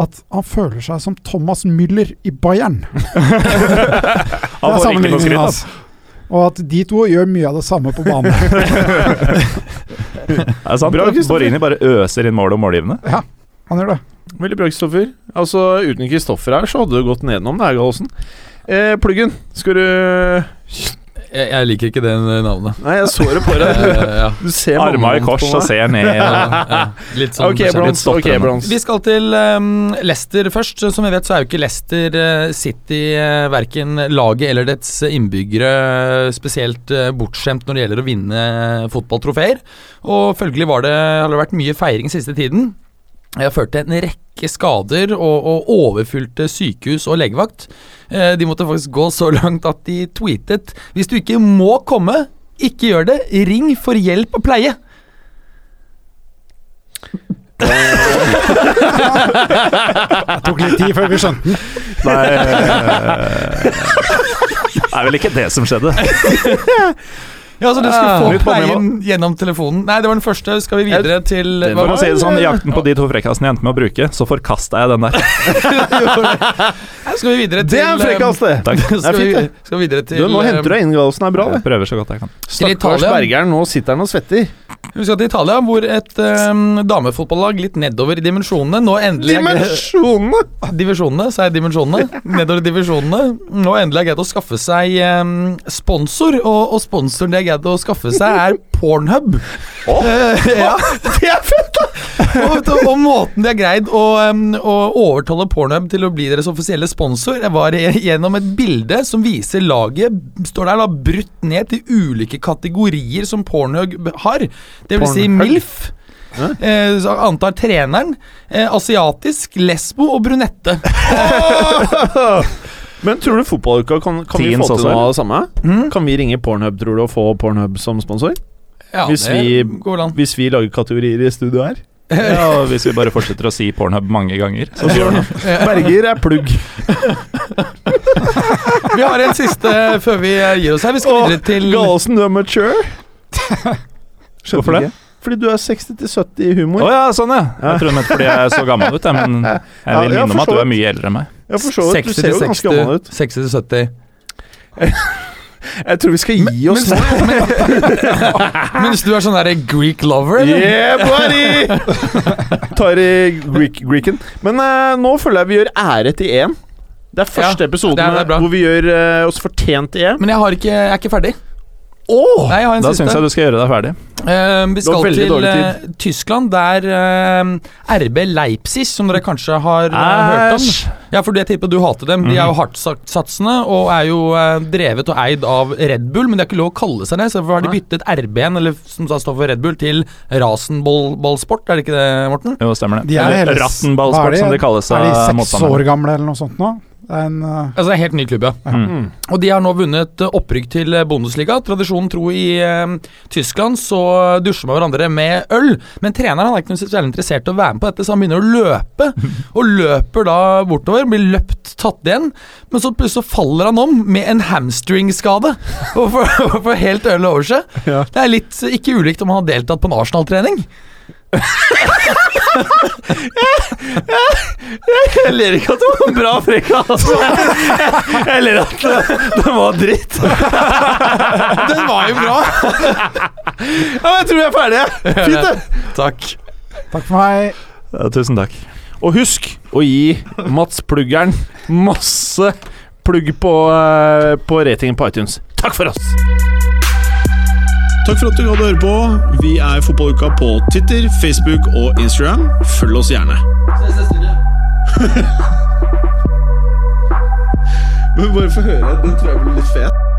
Speaker 5: at han føler seg som Thomas Müller i Bayern. Det
Speaker 3: Han
Speaker 5: er
Speaker 3: får egentlig noe
Speaker 5: sammenligningen
Speaker 3: skryt,
Speaker 5: hans. altså. Og at de to gjør mye av det samme på banen.
Speaker 4: altså. Det er sant.
Speaker 3: Bra, Kristoffer.
Speaker 4: Borini bare øser inn mål og målgivende.
Speaker 5: Han gjør det.
Speaker 3: Veldig bra, Kristoffer. Altså, uten Kristoffer her, så hadde du gått nedenom det her, Gallosen. Eh, pluggen, skal du
Speaker 6: Jeg, jeg liker ikke det navnet.
Speaker 3: Nei, jeg så det på deg.
Speaker 6: Eh, ja.
Speaker 3: Du ser
Speaker 4: Arma i
Speaker 3: mannen
Speaker 4: kors
Speaker 3: på
Speaker 4: og
Speaker 3: meg.
Speaker 4: ser ned.
Speaker 6: Ja, ja. Litt sånn
Speaker 3: Ok,
Speaker 6: forskjellig.
Speaker 3: Brons,
Speaker 6: Litt stoppere
Speaker 3: ok,
Speaker 6: nå.
Speaker 3: Brons.
Speaker 6: Vi skal til ehm, Leicester først. Som vi vet, så er jo ikke Leicester eh, City uh, verken laget eller dets innbyggere eh, spesielt eh, bortskjemt når det gjelder å vinne eh, fotballtrofeer. Og følgelig var det, har det vært mye feiring siste tiden. Jeg førte en rekke skader og, og overfylte sykehus og legevakt. Eh, De måtte faktisk gå så langt at de tweetet Hvis du ikke må komme, ikke gjør det. Ring for hjelp og pleie.
Speaker 5: Det tok litt tid før vi skjønte den.
Speaker 4: Nei Det er vel ikke det som skjedde.
Speaker 6: Ja, så du
Speaker 4: Ah,
Speaker 6: skulle få
Speaker 4: nytt problem,
Speaker 6: pleien gjennom telefonen. Nei, det var den første. Skal vi videre til
Speaker 4: For
Speaker 6: hva-
Speaker 4: å si det sånn, I jakten på de to frekkasene jeg endte med å bruke, så forkasta jeg den der.
Speaker 6: Nei, Skal vi videre til
Speaker 3: sånn. Det er
Speaker 6: ehm,
Speaker 3: en frekkas, det!
Speaker 4: Takk.
Speaker 3: Det er
Speaker 6: Skal vi,
Speaker 3: fint, det.
Speaker 6: skal vi videre til eh,
Speaker 3: Du, nå henter du deg inn, Gallosen. Det er bra,
Speaker 4: Jeg
Speaker 3: det.
Speaker 4: prøver så godt jeg kan.
Speaker 3: Stakkars
Speaker 6: Italia.
Speaker 3: Bergeren, nå sitter han og svetter.
Speaker 6: ehm, Vi skal til Italia, hvor et eh, damefotballag litt nedover i dimensjonene nå endelig er gre-
Speaker 3: Dimensjonene!
Speaker 6: Divisjonene, sa jeg dimensjonene. Nedover i divisjonene. Nå endelig har jeg greid å skaffe seg eh, sponsor, og, og sponsoren de har greid å skaffe seg, er Pornhub. Eh, ja, det er fett, da! Og, vet du, og måten de har greid å, eh, å overtale Pornhub til å bli deres offisielle sponsor, det var gjennom et bilde som viser laget står der da brutt ned til ulike kategorier som Pornhub har. Det vil si
Speaker 3: Pornhub?
Speaker 6: MILF. Eh, så antar treneren. Eh, asiatisk, lesbo og brunette.
Speaker 3: Men tror du fotballuka kan, kan vi
Speaker 4: Teens
Speaker 3: få til
Speaker 4: også,
Speaker 3: noe
Speaker 4: eller?
Speaker 3: av det samme?
Speaker 6: Mm.
Speaker 3: Kan vi ringe Pornhub, tror du, og få Pornhub som sponsor?
Speaker 6: Ja,
Speaker 3: Hvis
Speaker 6: det
Speaker 3: vi-
Speaker 6: går vel an.
Speaker 3: Hvis vi lager kategorier i studio her?
Speaker 4: Ja, og hvis vi bare fortsetter å si Pornhub mange ganger, så sier han
Speaker 3: Berger er plugg.
Speaker 6: Vi har en siste før vi eh, gir oss her. Vi skal
Speaker 3: Åh,
Speaker 6: videre til
Speaker 3: Gallosen, du er mature. Skjønner
Speaker 4: Hvorfor det?
Speaker 3: ikke. Fordi du er 60-70 i
Speaker 4: Å
Speaker 3: humor.
Speaker 4: ja, sånn ja. Jeg trodde du mente fordi jeg så gammel ut, jeg, men jeg
Speaker 3: Ja,
Speaker 4: vil
Speaker 3: ja,
Speaker 4: minne om
Speaker 3: for
Speaker 4: at
Speaker 3: så
Speaker 4: du er
Speaker 3: vidt.
Speaker 4: mye eldre enn meg.
Speaker 3: Ja, for så vidt. Du
Speaker 6: 60
Speaker 3: ser jo
Speaker 6: til
Speaker 3: ganske
Speaker 6: 60,
Speaker 3: gammel ut.
Speaker 6: 60 til 70.
Speaker 3: Jeg tror vi skal gi oss nå.
Speaker 6: Mens du er sånn derre Greek lover, eller?
Speaker 3: Yeah, buddy! Tar i Greek, Greeken. Men eh, nå føler jeg vi gjør ære til EM. Det er første
Speaker 6: Ja,
Speaker 3: episoden
Speaker 6: det er- det er bra.
Speaker 3: hvor vi gjør eh, oss fortjent til EM.
Speaker 6: Men jeg, har ikke, jeg er ikke ferdig. Nei, jeg har en
Speaker 4: Da
Speaker 6: siste.
Speaker 4: syns jeg du skal gjøre deg ferdig.
Speaker 6: Eh, vi skal
Speaker 3: veldig
Speaker 6: til
Speaker 3: dårlig
Speaker 6: eh, Tyskland, der eh, RB Leipzig, som dere kanskje har eh, hørt om
Speaker 4: Æsj.
Speaker 6: Ja, for jeg tipper du hater dem. De er jo hardtsatsende og er jo eh, drevet og eid av Red Bull, men det er ikke lov å kalle seg det. Så derfor har de
Speaker 3: Nei.
Speaker 6: byttet RB-en, eller som da står for Red Bull, til Rasenballsport. Er det ikke det, Morten?
Speaker 4: Jo, stemmer det.
Speaker 5: De er hele-
Speaker 4: Eller
Speaker 5: Hva er
Speaker 4: Rattenballsport,
Speaker 5: de?
Speaker 4: som de kalles eh,
Speaker 5: Er
Speaker 4: av
Speaker 5: de seks år
Speaker 4: motstanderne.
Speaker 5: gamle eller noe sånt nå? Det er en eh,
Speaker 6: Altså, det er en helt ny klubb, ja.
Speaker 4: Mm.
Speaker 6: Og de har nå vunnet eh, opprykk til eh, Bundesliga. Tradisjonen tro i eh, Tyskland så dusjer man hverandre med øl, men treneren han er ikke noe særlig interessert i å være med på dette, så han begynner å løpe. Og løper da bortover, blir løpt tatt igjen, men så plutselig så faller han om med en hamstringskade. Og får og får helt øl over seg.
Speaker 3: Ja.
Speaker 6: Det er litt eh, ikke ulikt om han har deltatt på en Arsenal-trening.
Speaker 4: Jeg ler ikke at det var en bra frekkas. Jeg ler at det, det var dritt.
Speaker 6: Den var jo bra!
Speaker 3: Ja, men jeg tror vi er ferdige. Fint, det.
Speaker 6: Takk.
Speaker 5: Takk for meg.
Speaker 4: Ja, tusen takk.
Speaker 3: Og husk å gi Mats Pluggeren masse plugg på, eh, på ratingen på iTunes. Takk for oss!
Speaker 1: Takk for at du gadd å høre på. Vi er Fotballuka på Titter, Facebook og Instagram. Følg oss gjerne. Men bare få høre. Den tror jeg blir litt fet.